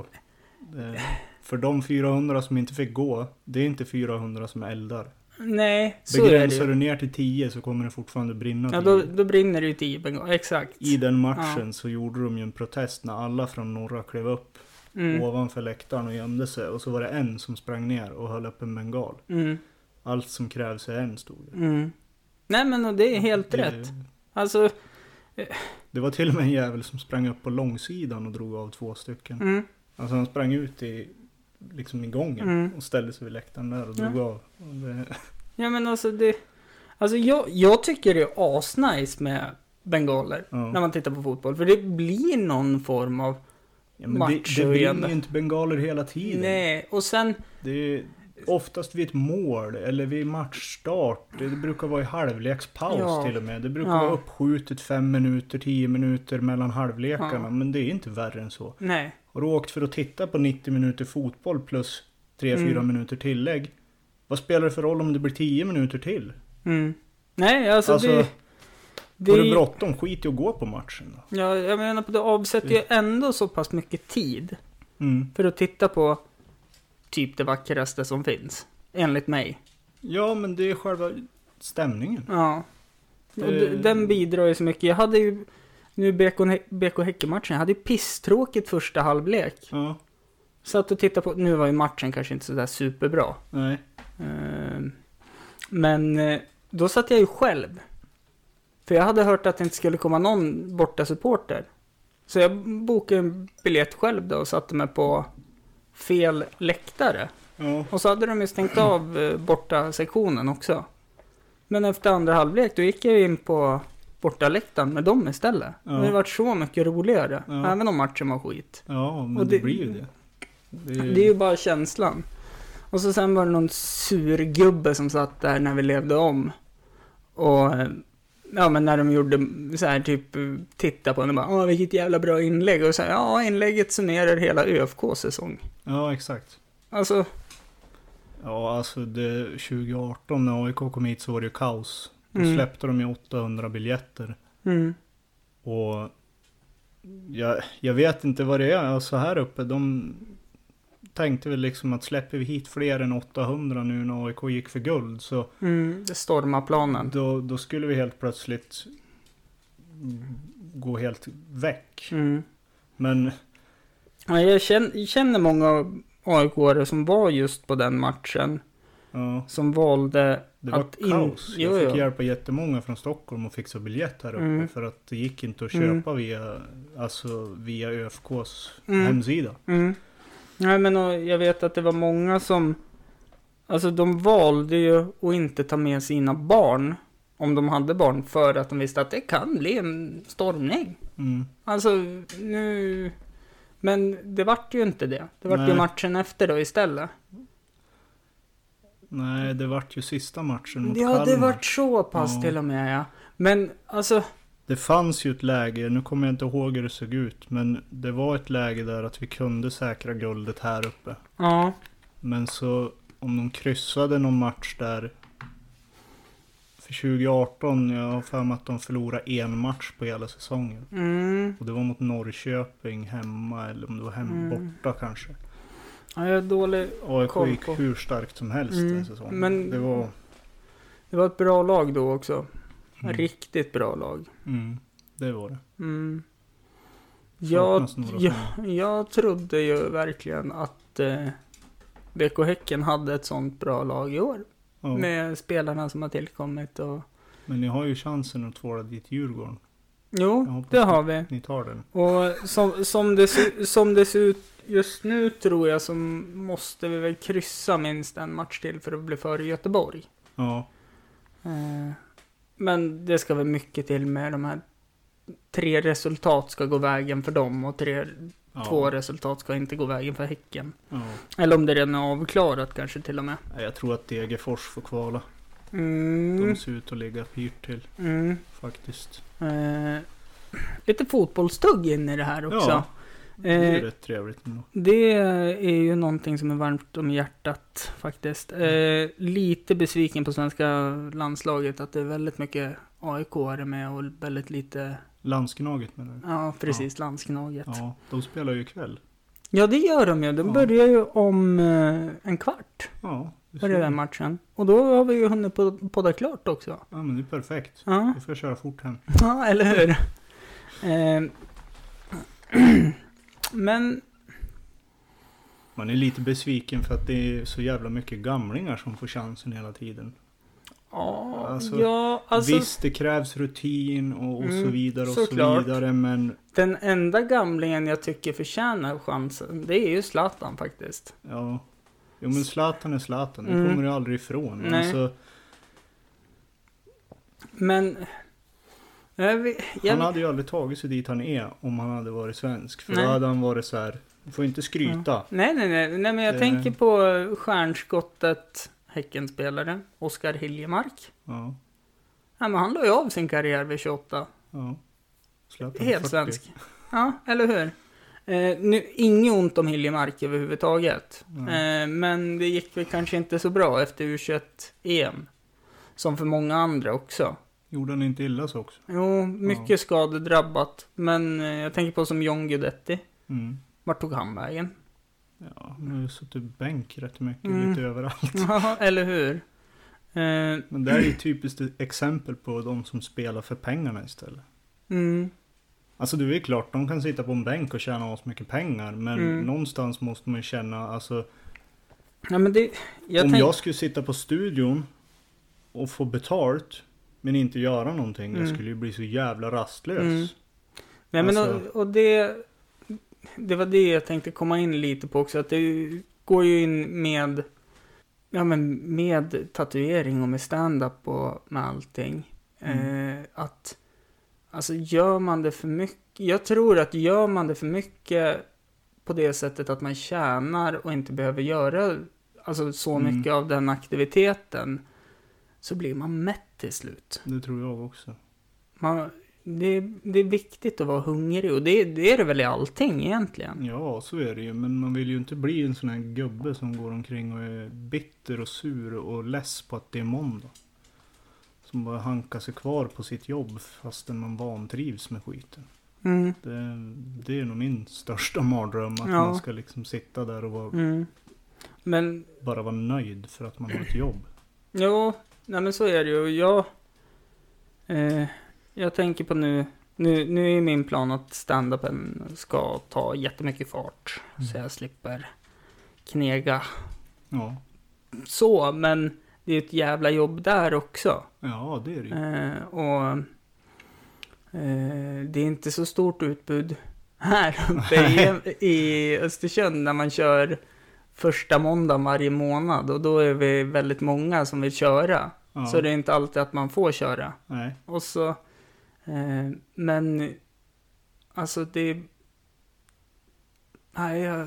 Speaker 2: Eh, Det, för de 400 som inte fick gå, det är inte 400 som eldar.
Speaker 1: Nej, så är det
Speaker 2: Begränsar
Speaker 1: ju.
Speaker 2: du ner till 10 så kommer det fortfarande brinna
Speaker 1: Ja,
Speaker 2: till
Speaker 1: då,
Speaker 2: jord.
Speaker 1: då brinner det ju till bengal. Exakt.
Speaker 2: I den matchen så gjorde de ju en protest när alla från norra klev upp
Speaker 1: Mm.
Speaker 2: ovanför läktaren och gömde sig. Och så var det en som sprang ner och höll upp en bengal.
Speaker 1: Mm.
Speaker 2: Allt som krävs är en, stod det.
Speaker 1: Mm. Nej, men och det är helt
Speaker 2: Det-
Speaker 1: rätt. Alltså,
Speaker 2: Det var till och med en jävel som sprang upp på långsidan och drog av två stycken.
Speaker 1: mm.
Speaker 2: Alltså han sprang ut i, liksom i gången
Speaker 1: Mm.
Speaker 2: och ställde sig vid läktaren där och
Speaker 1: Ja.
Speaker 2: drog av. Och det,
Speaker 1: ja men alltså det... Alltså jag, jag tycker det är asnice med bengaler.
Speaker 2: ja.
Speaker 1: När man tittar på fotboll. För det blir någon form av...
Speaker 2: ja, men det,
Speaker 1: match
Speaker 2: det
Speaker 1: och igen.
Speaker 2: brinner ju inte bengaler hela tiden.
Speaker 1: Nej, och sen...
Speaker 2: Det är oftast vid ett mål eller vid matchstart. Det brukar vara i halvlekspaus
Speaker 1: Ja.
Speaker 2: till och med. Det brukar
Speaker 1: Ja.
Speaker 2: vara uppskjutet fem minuter, tio minuter mellan halvlekarna.
Speaker 1: Ja.
Speaker 2: Men det är inte värre än så.
Speaker 1: Nej.
Speaker 2: Har du åkt för att titta på 90 minuter fotboll plus 3-4
Speaker 1: Mm.
Speaker 2: minuter tillägg. Vad spelar det för roll om det blir 10 minuter till?
Speaker 1: Mm. Nej, alltså,
Speaker 2: Alltså,
Speaker 1: det...
Speaker 2: Det... Har du bråttom, skit i att gå på matchen. Då.
Speaker 1: Ja, jag menar på det avsätter ju ändå så pass mycket tid
Speaker 2: Mm.
Speaker 1: för att titta på typ det vackraste som finns. Enligt mig.
Speaker 2: Ja, men det är själva stämningen.
Speaker 1: Ja. Och
Speaker 2: Det-
Speaker 1: d- den bidrar ju så mycket. Jag hade ju nu BK, Hä- BK Häcken-matchen, jag hade ju pisstråkigt första halvlek.
Speaker 2: Ja,
Speaker 1: Satt och tittade på, nu var ju matchen kanske inte sådär superbra.
Speaker 2: nej.
Speaker 1: Ehm, Men eh, då satt jag ju själv. För jag hade hört att det inte skulle komma någon borta supporter. Så jag bokade en biljett själv då och satte mig på fel läktare.
Speaker 2: Ja,
Speaker 1: Och så hade de ju stängt av eh, borta sektionen också. Men efter andra halvlek då gick jag ju in på bortaläktaren med dem istället.
Speaker 2: Ja.
Speaker 1: Det har varit så mycket roligare.
Speaker 2: Ja.
Speaker 1: Även om matchen var skit.
Speaker 2: ja men
Speaker 1: Och
Speaker 2: det,
Speaker 1: det-
Speaker 2: blir ju det. Det
Speaker 1: Det är ju bara känslan. Och så sen var det någon surgubbe som satt där när vi levde om. Och eh, ja, men när de gjorde så här typ eh, titta på en och bara åh vilket jävla bra inlägg. Och så här, ja inlägget summerar hela ÖFKs säsong.
Speaker 2: Ja, exakt.
Speaker 1: Alltså,
Speaker 2: Ja, alltså det, 2018 när AIK kom hit så var det ju kaos. Då
Speaker 1: Mm.
Speaker 2: släppte de ju 800 biljetter.
Speaker 1: mm,
Speaker 2: Och jag, jag vet inte vad det är. Alltså här uppe, de tänkte väl liksom att släpper vi hit fler än 800 nu när AIK gick för guld så
Speaker 1: mm, det stormar planen.
Speaker 2: Då, då skulle vi helt plötsligt gå helt väck.
Speaker 1: Mm.
Speaker 2: Men
Speaker 1: Ja, jag känner, känner många AIK-are som var just på den matchen.
Speaker 2: ja,
Speaker 1: Som valde
Speaker 2: det var
Speaker 1: Att in-
Speaker 2: kaos.
Speaker 1: Jo,
Speaker 2: Jag fick
Speaker 1: jo.
Speaker 2: hjälpa jättemånga från Stockholm och fixa biljett här uppe.
Speaker 1: Mm.
Speaker 2: För att det gick inte att
Speaker 1: Mm.
Speaker 2: köpa via, alltså, via ÖFKs
Speaker 1: Mm.
Speaker 2: hemsida.
Speaker 1: Mm. Nej men och jag vet att det var många som, alltså de valde ju att inte ta med sina barn, om de hade barn, för att de visste att det kan bli en stormning.
Speaker 2: Mm.
Speaker 1: Alltså nu, men det vart ju inte det. Det vart ju
Speaker 2: Nej.
Speaker 1: matchen efter då istället.
Speaker 2: Nej, det vart ju sista matchen mot
Speaker 1: Ja,
Speaker 2: Kalmar.
Speaker 1: det vart så pass
Speaker 2: Ja.
Speaker 1: till och med ja. Men alltså,
Speaker 2: Det fanns ju ett läge, nu kommer jag inte ihåg hur det såg ut, men det var ett läge där att vi kunde säkra guldet här uppe.
Speaker 1: ja.
Speaker 2: Men så om de kryssade någon match där. För 2018, jag har för mig att de förlorade en match på hela säsongen.
Speaker 1: Mm.
Speaker 2: Och det var mot Norrköping hemma, eller om det var hemma
Speaker 1: Mm.
Speaker 2: borta kanske.
Speaker 1: Ja, jag är dålig. Koll
Speaker 2: AIK gick
Speaker 1: på.
Speaker 2: hur starkt som helst
Speaker 1: Mm,
Speaker 2: den säsongen.
Speaker 1: men-
Speaker 2: Det var...
Speaker 1: Det var ett bra lag då också.
Speaker 2: Mm.
Speaker 1: Riktigt bra lag.
Speaker 2: Mm, det var det.
Speaker 1: Mm. Jag,
Speaker 2: Saknas några
Speaker 1: jag,
Speaker 2: som-
Speaker 1: jag trodde ju verkligen att eh, BK Häcken hade ett sånt bra lag i år.
Speaker 2: Ja,
Speaker 1: Med spelarna som har tillkommit och...
Speaker 2: Men ni har ju chansen att tvåla dit Djurgården. Jag
Speaker 1: Jo,
Speaker 2: hoppas
Speaker 1: det
Speaker 2: det.
Speaker 1: har vi.
Speaker 2: Ni tar den.
Speaker 1: Och som, som, det, se- som det ser ut just nu tror jag så måste vi väl kryssa minst en match till för att bli före Göteborg.
Speaker 2: Ja,
Speaker 1: Eh, Men det ska väl mycket till med de här... Tre resultat ska gå vägen för dem och tre,
Speaker 2: ja,
Speaker 1: två resultat ska inte gå vägen för Häcken.
Speaker 2: ja.
Speaker 1: Eller om det redan är avklarat kanske till och med.
Speaker 2: Nej, Jag tror att Degerfors får kvala.
Speaker 1: Mm.
Speaker 2: De ser ut att ligga pyrt till
Speaker 1: Mm.
Speaker 2: faktiskt.
Speaker 1: Eh, lite fotbollstugg in i det här också.
Speaker 2: Ja, det är ju
Speaker 1: Eh,
Speaker 2: rätt trevligt ändå.
Speaker 1: det är ju någonting som är varmt om hjärtat faktiskt.
Speaker 2: Mm.
Speaker 1: Eh, lite besviken på svenska landslaget att det är väldigt mycket aik are med och väldigt lite,
Speaker 2: Landsgnaget menar du?
Speaker 1: ja precis, landsknaget. Ja.
Speaker 2: Ja, de spelar ju ikväll.
Speaker 1: det gör de ju. De
Speaker 2: Ja.
Speaker 1: börjar ju om eh, en kvart.
Speaker 2: Ja, det
Speaker 1: för den där matchen. Och då har vi ju hunnit pod- podda klart också.
Speaker 2: Ja men det är perfekt.
Speaker 1: Ja,
Speaker 2: Då får jag köra fort hem.
Speaker 1: ja eller hur? Eh, Men,
Speaker 2: Man är lite besviken för att det är så jävla mycket gamlingar som får chansen hela tiden.
Speaker 1: ja,
Speaker 2: Alltså,
Speaker 1: ja, alltså
Speaker 2: Visst, det krävs rutin och, och så
Speaker 1: Mm,
Speaker 2: vidare och så
Speaker 1: såklart.
Speaker 2: vidare men
Speaker 1: den enda gamlingen jag tycker förtjänar chansen, det är ju Zlatan faktiskt.
Speaker 2: ja. Jo men Zlatan är Zlatan, det
Speaker 1: Mm.
Speaker 2: kommer du aldrig ifrån.
Speaker 1: Nej.
Speaker 2: Alltså,
Speaker 1: Men, jag vet, jag
Speaker 2: han
Speaker 1: vet,
Speaker 2: hade ju aldrig tagit sig dit han är om han hade varit svensk. För
Speaker 1: Nej. Mm.
Speaker 2: då hade han varit så här. Du får inte skryta.
Speaker 1: nej, nej, nej, nej, men jag
Speaker 2: Eh.
Speaker 1: tänker på stjärnskottet, Häckenspelaren, Oskar Hiljemark.
Speaker 2: Ja,
Speaker 1: Ja, men han la ju av sin karriär vid 28.
Speaker 2: ja. Zlatan är
Speaker 1: Helt
Speaker 2: 40.
Speaker 1: svensk. Ja, eller hur? Eh, nu, inget ont om Hiljemark överhuvudtaget.
Speaker 2: Nej.
Speaker 1: Eh, men det gick väl kanske inte så bra efter U21-EM. Som för många andra också.
Speaker 2: Gjorde han inte illa så också?
Speaker 1: Jo, mycket
Speaker 2: Ja.
Speaker 1: skadedrabbat. Men eh, jag tänker på som John Guidetti.
Speaker 2: Mm.
Speaker 1: Vart tog han vägen?
Speaker 2: Ja, han har ju suttit bänk rätt mycket,
Speaker 1: Mm.
Speaker 2: lite överallt.
Speaker 1: Ja, eller hur? Eh,
Speaker 2: Men det här är ju typiskt ett exempel på de som spelar för pengarna istället.
Speaker 1: mm,
Speaker 2: Alltså det är ju klart, de kan sitta på en bänk och tjäna oss mycket pengar. Men
Speaker 1: Mm.
Speaker 2: någonstans måste man ju känna, alltså
Speaker 1: ja, men det, jag
Speaker 2: om
Speaker 1: tänk,
Speaker 2: jag skulle sitta på studion och få betalt men inte göra någonting. Jag
Speaker 1: Mm.
Speaker 2: skulle ju bli så jävla rastlös.
Speaker 1: Mm. Nej, men
Speaker 2: alltså-
Speaker 1: och, och det, det var det jag tänkte komma in lite på också. Att det går ju in med, ja, men med tatuering och med stand-up och med allting.
Speaker 2: Mm.
Speaker 1: Eh, att, alltså gör man det för mycket. Jag tror att gör man det för mycket på det sättet att man tjänar och inte behöver göra alltså, så
Speaker 2: Mm.
Speaker 1: mycket av den aktiviteten. Så blir man mätt till slut.
Speaker 2: Det tror jag också.
Speaker 1: Man, det, det är viktigt att vara hungrig och det, det är det väl i allting egentligen.
Speaker 2: Ja, så är det ju. Men man vill ju inte bli en sån här gubbe som går omkring och är bitter och sur och less på att det är måndag. Som bara hankar sig kvar på sitt jobb fastän man vantrivs med skiten.
Speaker 1: Mm.
Speaker 2: Det, det är nog min största mardröm. Att
Speaker 1: Ja.
Speaker 2: man ska liksom sitta där och vara,
Speaker 1: Mm. Men
Speaker 2: bara vara nöjd för att man har ett jobb.
Speaker 1: Jo, nej men så är det ju. Jag, eh, jag tänker på nu, nu, nu är min plan att stand-upen ska ta jättemycket fart. Så jag slipper knega
Speaker 2: Ja,
Speaker 1: så, men det är ju ett jävla jobb där också.
Speaker 2: ja det är det ju.
Speaker 1: Eh, och eh, det är inte så stort utbud här uppe i, i Östersund när man kör första måndagen varje månad och då är vi väldigt många som vill köra.
Speaker 2: Ja,
Speaker 1: Så det är inte alltid att man får köra.
Speaker 2: Nej,
Speaker 1: Och så, eh, men alltså det... Nej, jag,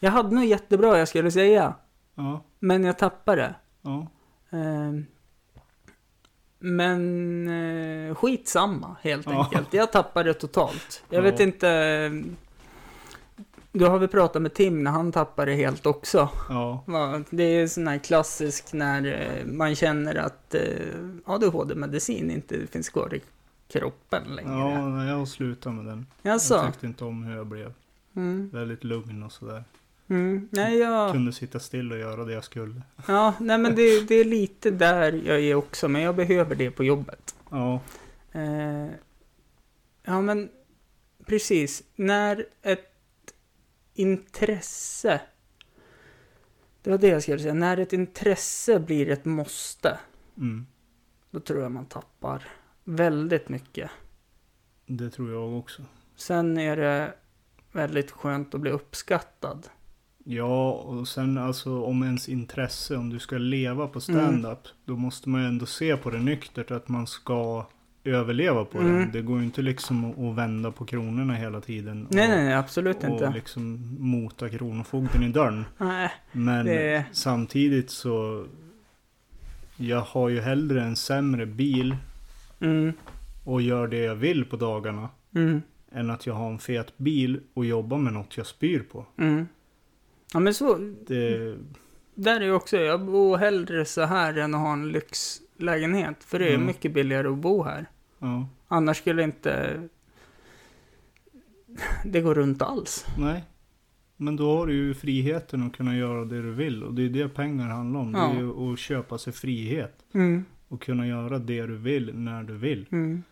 Speaker 1: jag hade nog jättebra jag skulle säga,
Speaker 2: ja,
Speaker 1: men jag tappade det.
Speaker 2: ja.
Speaker 1: Ehm, Men eh, skitsamma helt
Speaker 2: Ja.
Speaker 1: enkelt. Jag tappade det totalt. Jag
Speaker 2: Ja.
Speaker 1: vet inte. eh, Du har väl pratat med Tim när han tappade det helt också.
Speaker 2: ja.
Speaker 1: Va, Det är sån här klassisk när eh, man känner att eh, ADHD-medicin inte finns kvar i kroppen längre.
Speaker 2: Ja, jag slutar med den.
Speaker 1: Ja,
Speaker 2: Jag
Speaker 1: alltså.
Speaker 2: tyckte inte om hur jag blev.
Speaker 1: Mm,
Speaker 2: Väldigt lugn och sådär.
Speaker 1: mm, nej, jag...
Speaker 2: Kunde sitta still och göra det jag skulle.
Speaker 1: Ja, nej men det, det är lite där jag är också, men jag behöver det på jobbet.
Speaker 2: Ja,
Speaker 1: Eh, ja, men precis. När ett intresse... Det var det jag skulle säga. När ett intresse blir ett måste,
Speaker 2: mm.
Speaker 1: då tror jag man tappar väldigt mycket.
Speaker 2: det tror jag också.
Speaker 1: Sen är det väldigt skönt att bli uppskattad.
Speaker 2: Ja, och sen alltså om ens intresse, om du ska leva
Speaker 1: Mm.
Speaker 2: på stand-up, då måste man ju ändå se på det nyktert att man ska överleva på
Speaker 1: Mm.
Speaker 2: det. Det går ju inte liksom att- att vända på kronorna hela tiden. Och,
Speaker 1: Nej, nej, nej, absolut
Speaker 2: och
Speaker 1: inte.
Speaker 2: liksom mota kronofogden i dörren.
Speaker 1: Nej,
Speaker 2: Men
Speaker 1: det...
Speaker 2: samtidigt så, jag har ju hellre en sämre bil
Speaker 1: Mm,
Speaker 2: och gör det jag vill på dagarna.
Speaker 1: mm,
Speaker 2: Än att jag har en fet bil och jobbar med något jag spyr på.
Speaker 1: mm. Ja, men så... Mm.
Speaker 2: Det,
Speaker 1: Där är ju också, jag bor hellre så här än att ha en lyxlägenhet. För det är
Speaker 2: Mm.
Speaker 1: mycket billigare att bo här.
Speaker 2: ja,
Speaker 1: Annars skulle inte det gå runt alls.
Speaker 2: nej. Men då har du ju friheten att kunna göra det du vill och det är det pengar handlar om.
Speaker 1: Ja.
Speaker 2: Det är ju att köpa sig frihet
Speaker 1: Mm,
Speaker 2: och kunna göra det du vill när du vill.
Speaker 1: mm.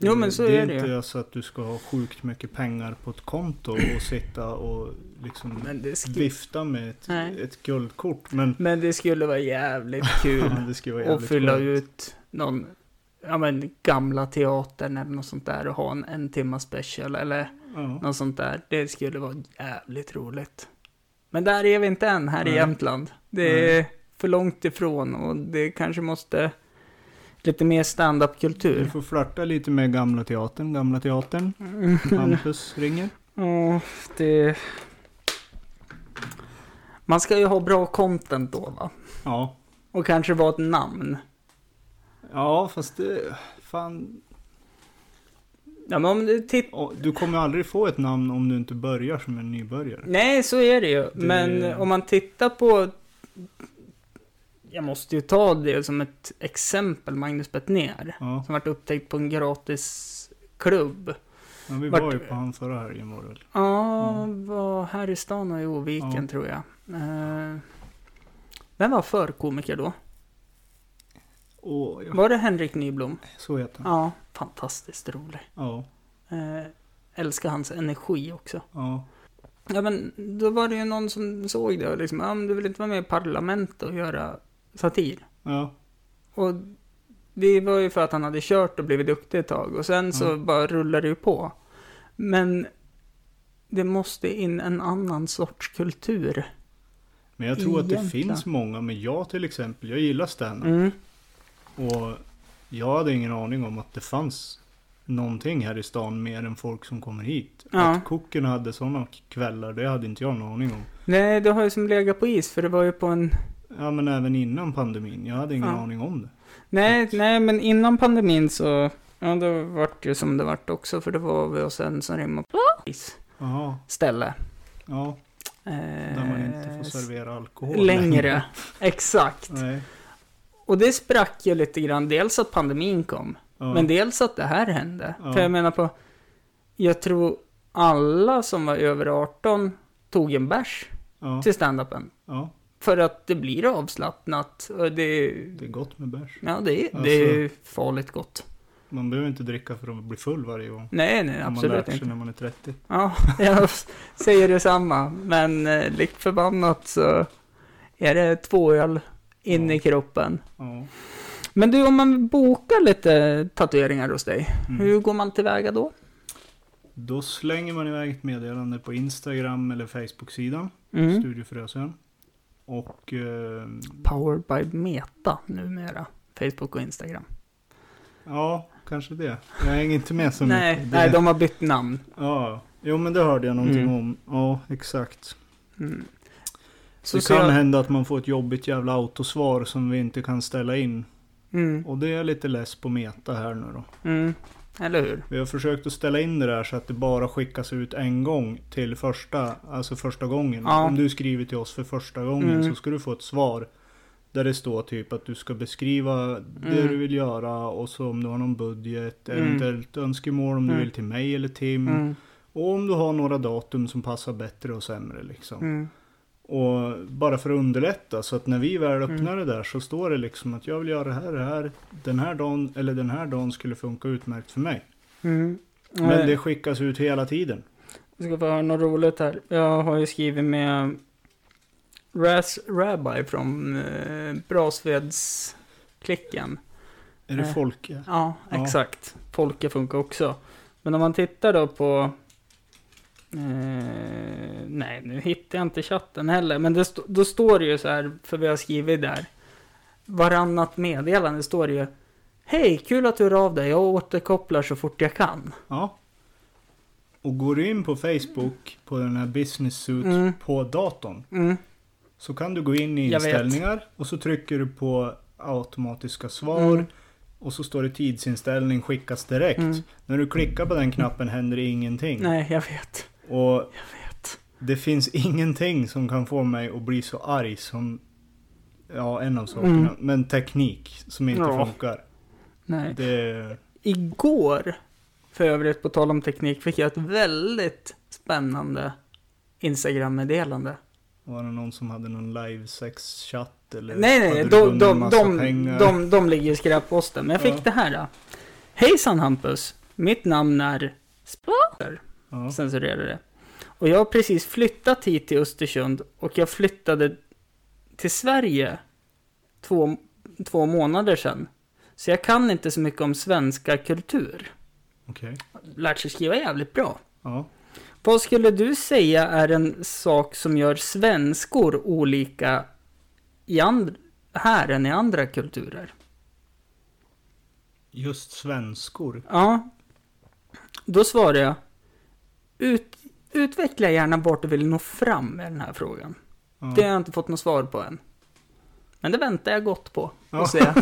Speaker 1: Jo, men så
Speaker 2: det
Speaker 1: är det ju.
Speaker 2: inte alltså att du ska ha sjukt mycket pengar på ett konto och sitta och liksom
Speaker 1: Men det, skulle,
Speaker 2: vifta med ett,
Speaker 1: Nej.
Speaker 2: ett guldkort. Men
Speaker 1: men det skulle vara jävligt kul
Speaker 2: ja, det ska vara
Speaker 1: att
Speaker 2: jävligt
Speaker 1: fylla
Speaker 2: skönt.
Speaker 1: ut någon, ja men gamla teatern eller något sånt där och ha en en timma special eller
Speaker 2: Ja.
Speaker 1: något sånt där. Det skulle vara jävligt roligt. Men där är vi inte än här i
Speaker 2: Nej.
Speaker 1: Jämtland. Det är för långt ifrån och det kanske måste lite mer
Speaker 2: Du
Speaker 1: standup-kultur.
Speaker 2: får flörta lite med Gamla Teatern. Gamla Teatern. Hampus ringer.
Speaker 1: Ja, det... Man ska ju ha bra content då va?
Speaker 2: Ja.
Speaker 1: Och kanske vara ett namn.
Speaker 2: Ja, fast det... Fan.
Speaker 1: Ja, men om du tittar...
Speaker 2: Ja, Du kommer aldrig få ett namn om du inte börjar som en nybörjare.
Speaker 1: Nej, så är det ju.
Speaker 2: Det-
Speaker 1: Men om man tittar på... Jag måste ju ta det som ett exempel, Magnus Bettner.
Speaker 2: Ja,
Speaker 1: Som varit upptäckt på en gratis klubb.
Speaker 2: men vi
Speaker 1: Vart-
Speaker 2: var ju på han förra helgen var det väl?
Speaker 1: Ja, var här i stan och i Oviken
Speaker 2: Ja.
Speaker 1: tror jag. Eh, vem var förkomiker då?
Speaker 2: Åh, ja.
Speaker 1: Var det Henrik Nyblom?
Speaker 2: Så heter han.
Speaker 1: Ja, fantastiskt rolig.
Speaker 2: Ja,
Speaker 1: Eh, älskar hans energi också.
Speaker 2: ja.
Speaker 1: Ja, men då var det ju någon som såg det och liksom, ja, men du vill inte vara med i Parlament och göra satir.
Speaker 2: Ja,
Speaker 1: Och det var ju för att han hade kört och blivit duktig ett tag och sen så
Speaker 2: Mm.
Speaker 1: bara rullade det ju på. Men det måste in en annan sorts kultur.
Speaker 2: men jag tror att det
Speaker 1: Egentligen.
Speaker 2: finns många. Men jag till exempel, jag gillar stand
Speaker 1: Mm.
Speaker 2: Och jag hade ingen aning om att det fanns någonting här i stan mer än folk som kommer hit.
Speaker 1: Ja.
Speaker 2: Att kocken hade sådana kvällar, det hade inte jag någon aning om.
Speaker 1: Nej, det har ju som legat på is för det var ju på en...
Speaker 2: Ja men även innan pandemin, jag hade ingen
Speaker 1: Ja.
Speaker 2: aning om det.
Speaker 1: Nej, nej, men innan pandemin så... Ja, det vart ju som det vart också för det var vi och sen som rimmade på is.
Speaker 2: Jaha,
Speaker 1: ställe.
Speaker 2: ja,
Speaker 1: Eh,
Speaker 2: där man inte får servera alkohol.
Speaker 1: Längre, exakt.
Speaker 2: Nej.
Speaker 1: Och det sprack ju lite grann, dels att pandemin kom,
Speaker 2: Ja.
Speaker 1: men dels att det här hände.
Speaker 2: Ja.
Speaker 1: För jag menar på, jag tror alla som var över 18 tog en bärs
Speaker 2: ja,
Speaker 1: till standupen.
Speaker 2: ja,
Speaker 1: För att det blir avslappnat och det,
Speaker 2: det är gott med bärs.
Speaker 1: ja, det, är- det är
Speaker 2: Alltså.
Speaker 1: farligt gott.
Speaker 2: Man behöver inte dricka för att bli full varje gång.
Speaker 1: Nej, nej,
Speaker 2: Har man lärt
Speaker 1: absolut
Speaker 2: sig
Speaker 1: inte.
Speaker 2: när man är 30.
Speaker 1: Ja, jag säger detsamma. Men eh, likt förbannat så är det två öl in
Speaker 2: Ja.
Speaker 1: i kroppen.
Speaker 2: Ja.
Speaker 1: Men du, om man bokar lite tatueringar hos dig,
Speaker 2: Mm.
Speaker 1: hur går man tillväga då?
Speaker 2: Då slänger man iväg ett meddelande på Instagram eller Facebook-sidan,
Speaker 1: Mm.
Speaker 2: Studio Frösön. Och eh,
Speaker 1: Powered by Meta numera. Facebook och Instagram.
Speaker 2: Ja, kanske det. Jag hänger inte med så
Speaker 1: Nej,
Speaker 2: mycket. Det-
Speaker 1: nej, de har bytt namn.
Speaker 2: ja. Jo, men det hörde jag någonting
Speaker 1: Mm.
Speaker 2: om. Ja, exakt.
Speaker 1: Mm.
Speaker 2: det
Speaker 1: Social-
Speaker 2: kan hända att man får ett jobbigt jävla autosvar som vi inte kan ställa in.
Speaker 1: Mm,
Speaker 2: Och det är jag lite less på Meta här nu då.
Speaker 1: mm. Eller hur?
Speaker 2: Vi har försökt att ställa in det där så att det bara skickas ut en gång till första, alltså första gången.
Speaker 1: Ja.
Speaker 2: Om du skriver till oss för första gången
Speaker 1: Mm.
Speaker 2: så ska du få ett svar. Där det står typ att du ska beskriva det
Speaker 1: Mm.
Speaker 2: du vill göra och så om du har någon budget,
Speaker 1: Mm.
Speaker 2: eventuellt önskemål om
Speaker 1: Mm.
Speaker 2: du vill till mig eller Tim.
Speaker 1: Mm,
Speaker 2: Och om du har några datum som passar bättre och sämre liksom.
Speaker 1: mm,
Speaker 2: Och bara för att underlätta så att när vi väl
Speaker 1: Mm.
Speaker 2: öppnar det där så står det liksom att jag vill göra det här, det här, den här dagen eller den här dagen skulle funka utmärkt för mig.
Speaker 1: mm.
Speaker 2: Men det skickas ut hela tiden.
Speaker 1: Jag ska få höra något roligt här. Jag har ju skrivit med Raz Rabbi från eh, Brasvedsklicken.
Speaker 2: Är det
Speaker 1: Eh.
Speaker 2: folk?
Speaker 1: Ja,
Speaker 2: Ja.
Speaker 1: exakt. Folke funkar också. Men om man tittar då på... Eh, nej, nu hittar jag inte chatten heller. Men det st- då står det ju så här, för vi har skrivit där. Varannat meddelande står det ju. Hej, kul att du hör av dig. Jag återkopplar så fort jag kan.
Speaker 2: Ja. Och går du in på Facebook på den här business suit
Speaker 1: Mm.
Speaker 2: på datorn
Speaker 1: Mm,
Speaker 2: så kan du gå in i
Speaker 1: Jag vet.
Speaker 2: inställningar och så trycker du på automatiska svar
Speaker 1: Mm.
Speaker 2: och så står det tidsinställning skickas direkt.
Speaker 1: mm.
Speaker 2: När du klickar på den knappen händer det ingenting.
Speaker 1: Nej, jag vet.
Speaker 2: Och
Speaker 1: Jag vet.
Speaker 2: det finns ingenting som kan få mig att bli så arg som Ja, en av sakerna.
Speaker 1: Mm.
Speaker 2: Men teknik som inte
Speaker 1: Ja.
Speaker 2: funkar.
Speaker 1: Nej.
Speaker 2: Det,
Speaker 1: Igår, för övrigt på tal om teknik, fick jag ett väldigt spännande Instagram-meddelande.
Speaker 2: Var det någon som hade någon live-sex-chatt? Eller
Speaker 1: Nej, nej,
Speaker 2: hade
Speaker 1: nej.
Speaker 2: du
Speaker 1: De,
Speaker 2: vunnit en
Speaker 1: de,
Speaker 2: massa
Speaker 1: de,
Speaker 2: pengar?
Speaker 1: de, de ligger i skräpposten. Men jag fick
Speaker 2: Ja.
Speaker 1: det här. Då. Hejsan Hampus! Mitt namn är
Speaker 2: Ja.
Speaker 1: censurerade det. Och jag har precis flyttat hit till Östersund och jag flyttade till Sverige två, två månader sedan. Så jag kan inte så mycket om svenska kultur.
Speaker 2: Okej.
Speaker 1: Lärt sig skriva jävligt bra.
Speaker 2: Ja.
Speaker 1: Vad skulle du säga är en sak som gör svenskor olika i and- här än i andra kulturer?
Speaker 2: Just svenskor.
Speaker 1: Ja, då svarar jag. Ut, utveckla gärna vart du vill nå fram med den här frågan.
Speaker 2: Ja.
Speaker 1: Det har jag inte fått något svar på än. Men det väntar jag gott på.
Speaker 2: Ja.
Speaker 1: Att se.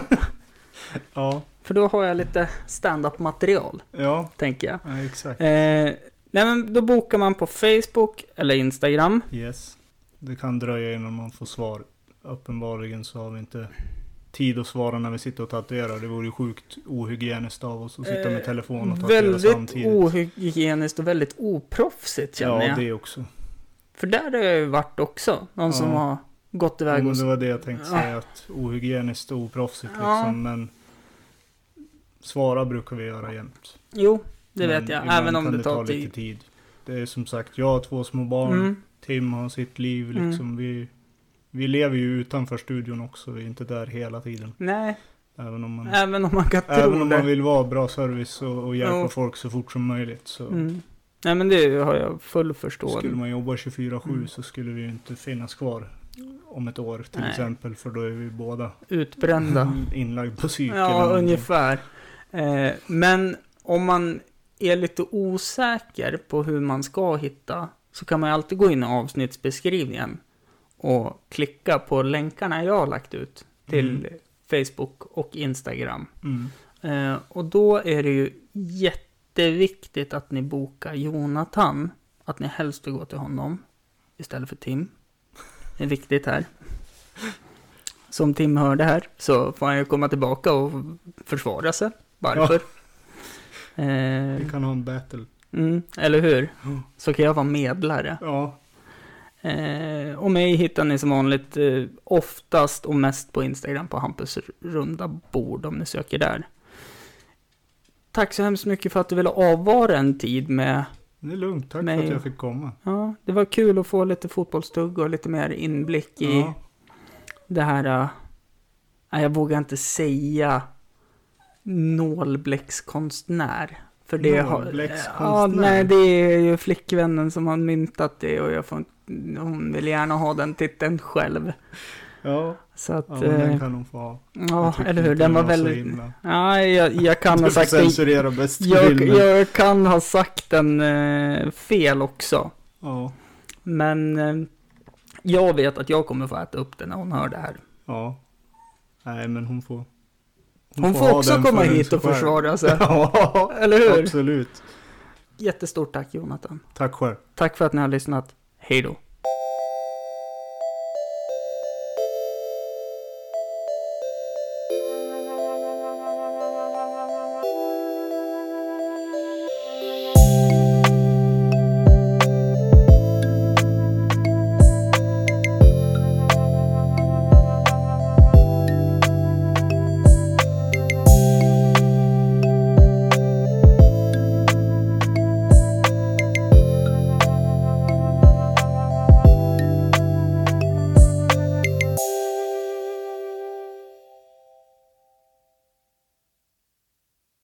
Speaker 2: Ja.
Speaker 1: För då har jag lite stand-up material,
Speaker 2: Ja.
Speaker 1: tänker jag.
Speaker 2: ja, exakt.
Speaker 1: Eh, nej men då bokar man på Facebook eller Instagram.
Speaker 2: Yes. Det kan dröja innan man får svar. Uppenbarligen så har vi inte tid att svara när vi sitter och tatuerar. Det vore ju sjukt ohygieniskt av oss att sitta
Speaker 1: Eh,
Speaker 2: med telefon och tatuera
Speaker 1: Väldigt
Speaker 2: samtidigt.
Speaker 1: ohygieniskt och väldigt oproffsigt känner
Speaker 2: ja,
Speaker 1: jag.
Speaker 2: det också. För
Speaker 1: För där har jag ju varit också. Någon som
Speaker 2: Ja.
Speaker 1: har gått
Speaker 2: ja,
Speaker 1: iväg
Speaker 2: men
Speaker 1: och...
Speaker 2: det var det jag tänkte
Speaker 1: Ja.
Speaker 2: säga. Att ohygieniskt och oproffsigt
Speaker 1: Ja.
Speaker 2: liksom. Men svara brukar vi göra jämt.
Speaker 1: Jo, det
Speaker 2: Men
Speaker 1: vet jag.
Speaker 2: ibland
Speaker 1: Även om
Speaker 2: kan
Speaker 1: det tar
Speaker 2: lite
Speaker 1: tid.
Speaker 2: tid. Det är som sagt, jag har två små barn.
Speaker 1: Mm.
Speaker 2: Tim har sitt liv
Speaker 1: Mm.
Speaker 2: liksom. Vi, vi lever ju utanför studion också. Vi är inte där hela tiden.
Speaker 1: Nej,
Speaker 2: Även om man,
Speaker 1: även om man kan tro
Speaker 2: även om
Speaker 1: det.
Speaker 2: man vill vara bra service och, och hjälpa
Speaker 1: Ja.
Speaker 2: folk så fort som möjligt. Så
Speaker 1: Mm. Nej men det har jag full förståelse
Speaker 2: skulle man jobba 24-7
Speaker 1: Mm.
Speaker 2: så skulle vi ju inte finnas kvar om ett år till
Speaker 1: Nej.
Speaker 2: exempel. För då är vi båda
Speaker 1: Utbrända.
Speaker 2: inlagda på psyk. Mm. eller
Speaker 1: Ja,
Speaker 2: någonting.
Speaker 1: ungefär. Eh, men om man är lite osäker på hur man ska hitta så kan man ju alltid gå in i avsnittsbeskrivningen och klicka på länkarna jag har lagt ut till Facebook och Instagram.
Speaker 2: Mm.
Speaker 1: Eh, och då är det ju jätteviktigt att ni bokar Jonathan. Att ni helst vill gå till honom istället för Tim. Det är viktigt här. Som Tim hörde här så får han ju komma tillbaka och försvara sig. Varför? Eh,
Speaker 2: Vi kan ha en battle.
Speaker 1: mm, eller hur?
Speaker 2: Ja.
Speaker 1: Så kan jag vara medlare.
Speaker 2: Ja,
Speaker 1: Eh, och mig hittar ni som vanligt eh, oftast och mest på Instagram på Hampus runda bord om ni söker där. Tack så hemskt mycket för att du ville avvara en tid med.
Speaker 2: det är lugnt. Tack
Speaker 1: Nej.
Speaker 2: för att jag fick komma.
Speaker 1: Ja, det var kul att få lite fotbollstugg och lite mer inblick i
Speaker 2: Ja.
Speaker 1: det här. eh, nej, jag vågar inte säga nålbläckskonstnär. För det har, ja,
Speaker 2: Nålbläckskonstnär?
Speaker 1: nej, det är ju flickvännen som har myntat det och jag får, inte- hon vill gärna ha den titeln själv.
Speaker 2: Ja,
Speaker 1: Så att,
Speaker 2: ja
Speaker 1: ja,
Speaker 2: men den kan hon få ha.
Speaker 1: ja
Speaker 2: Jag tycker
Speaker 1: eller hur,
Speaker 2: inte
Speaker 1: den var
Speaker 2: så
Speaker 1: väldigt...
Speaker 2: himla-
Speaker 1: Ja, jag, jag kan ha
Speaker 2: Du får
Speaker 1: sagt det.
Speaker 2: censurera bäst du
Speaker 1: Jag,
Speaker 2: vill, men-
Speaker 1: jag kan ha sagt den eh, fel också.
Speaker 2: Ja,
Speaker 1: Men eh, jag vet att jag kommer få äta upp det när hon hör det här.
Speaker 2: ja. Nej, men hon får...
Speaker 1: Hon, får,
Speaker 2: ha
Speaker 1: också
Speaker 2: den
Speaker 1: komma
Speaker 2: för
Speaker 1: hit
Speaker 2: sig
Speaker 1: och
Speaker 2: själv.
Speaker 1: försvara sig.
Speaker 2: Ja,
Speaker 1: Eller hur?
Speaker 2: absolut.
Speaker 1: Jättestort tack Jonathan.
Speaker 2: Tack själv.
Speaker 1: Tack för att ni har lyssnat. Hej då.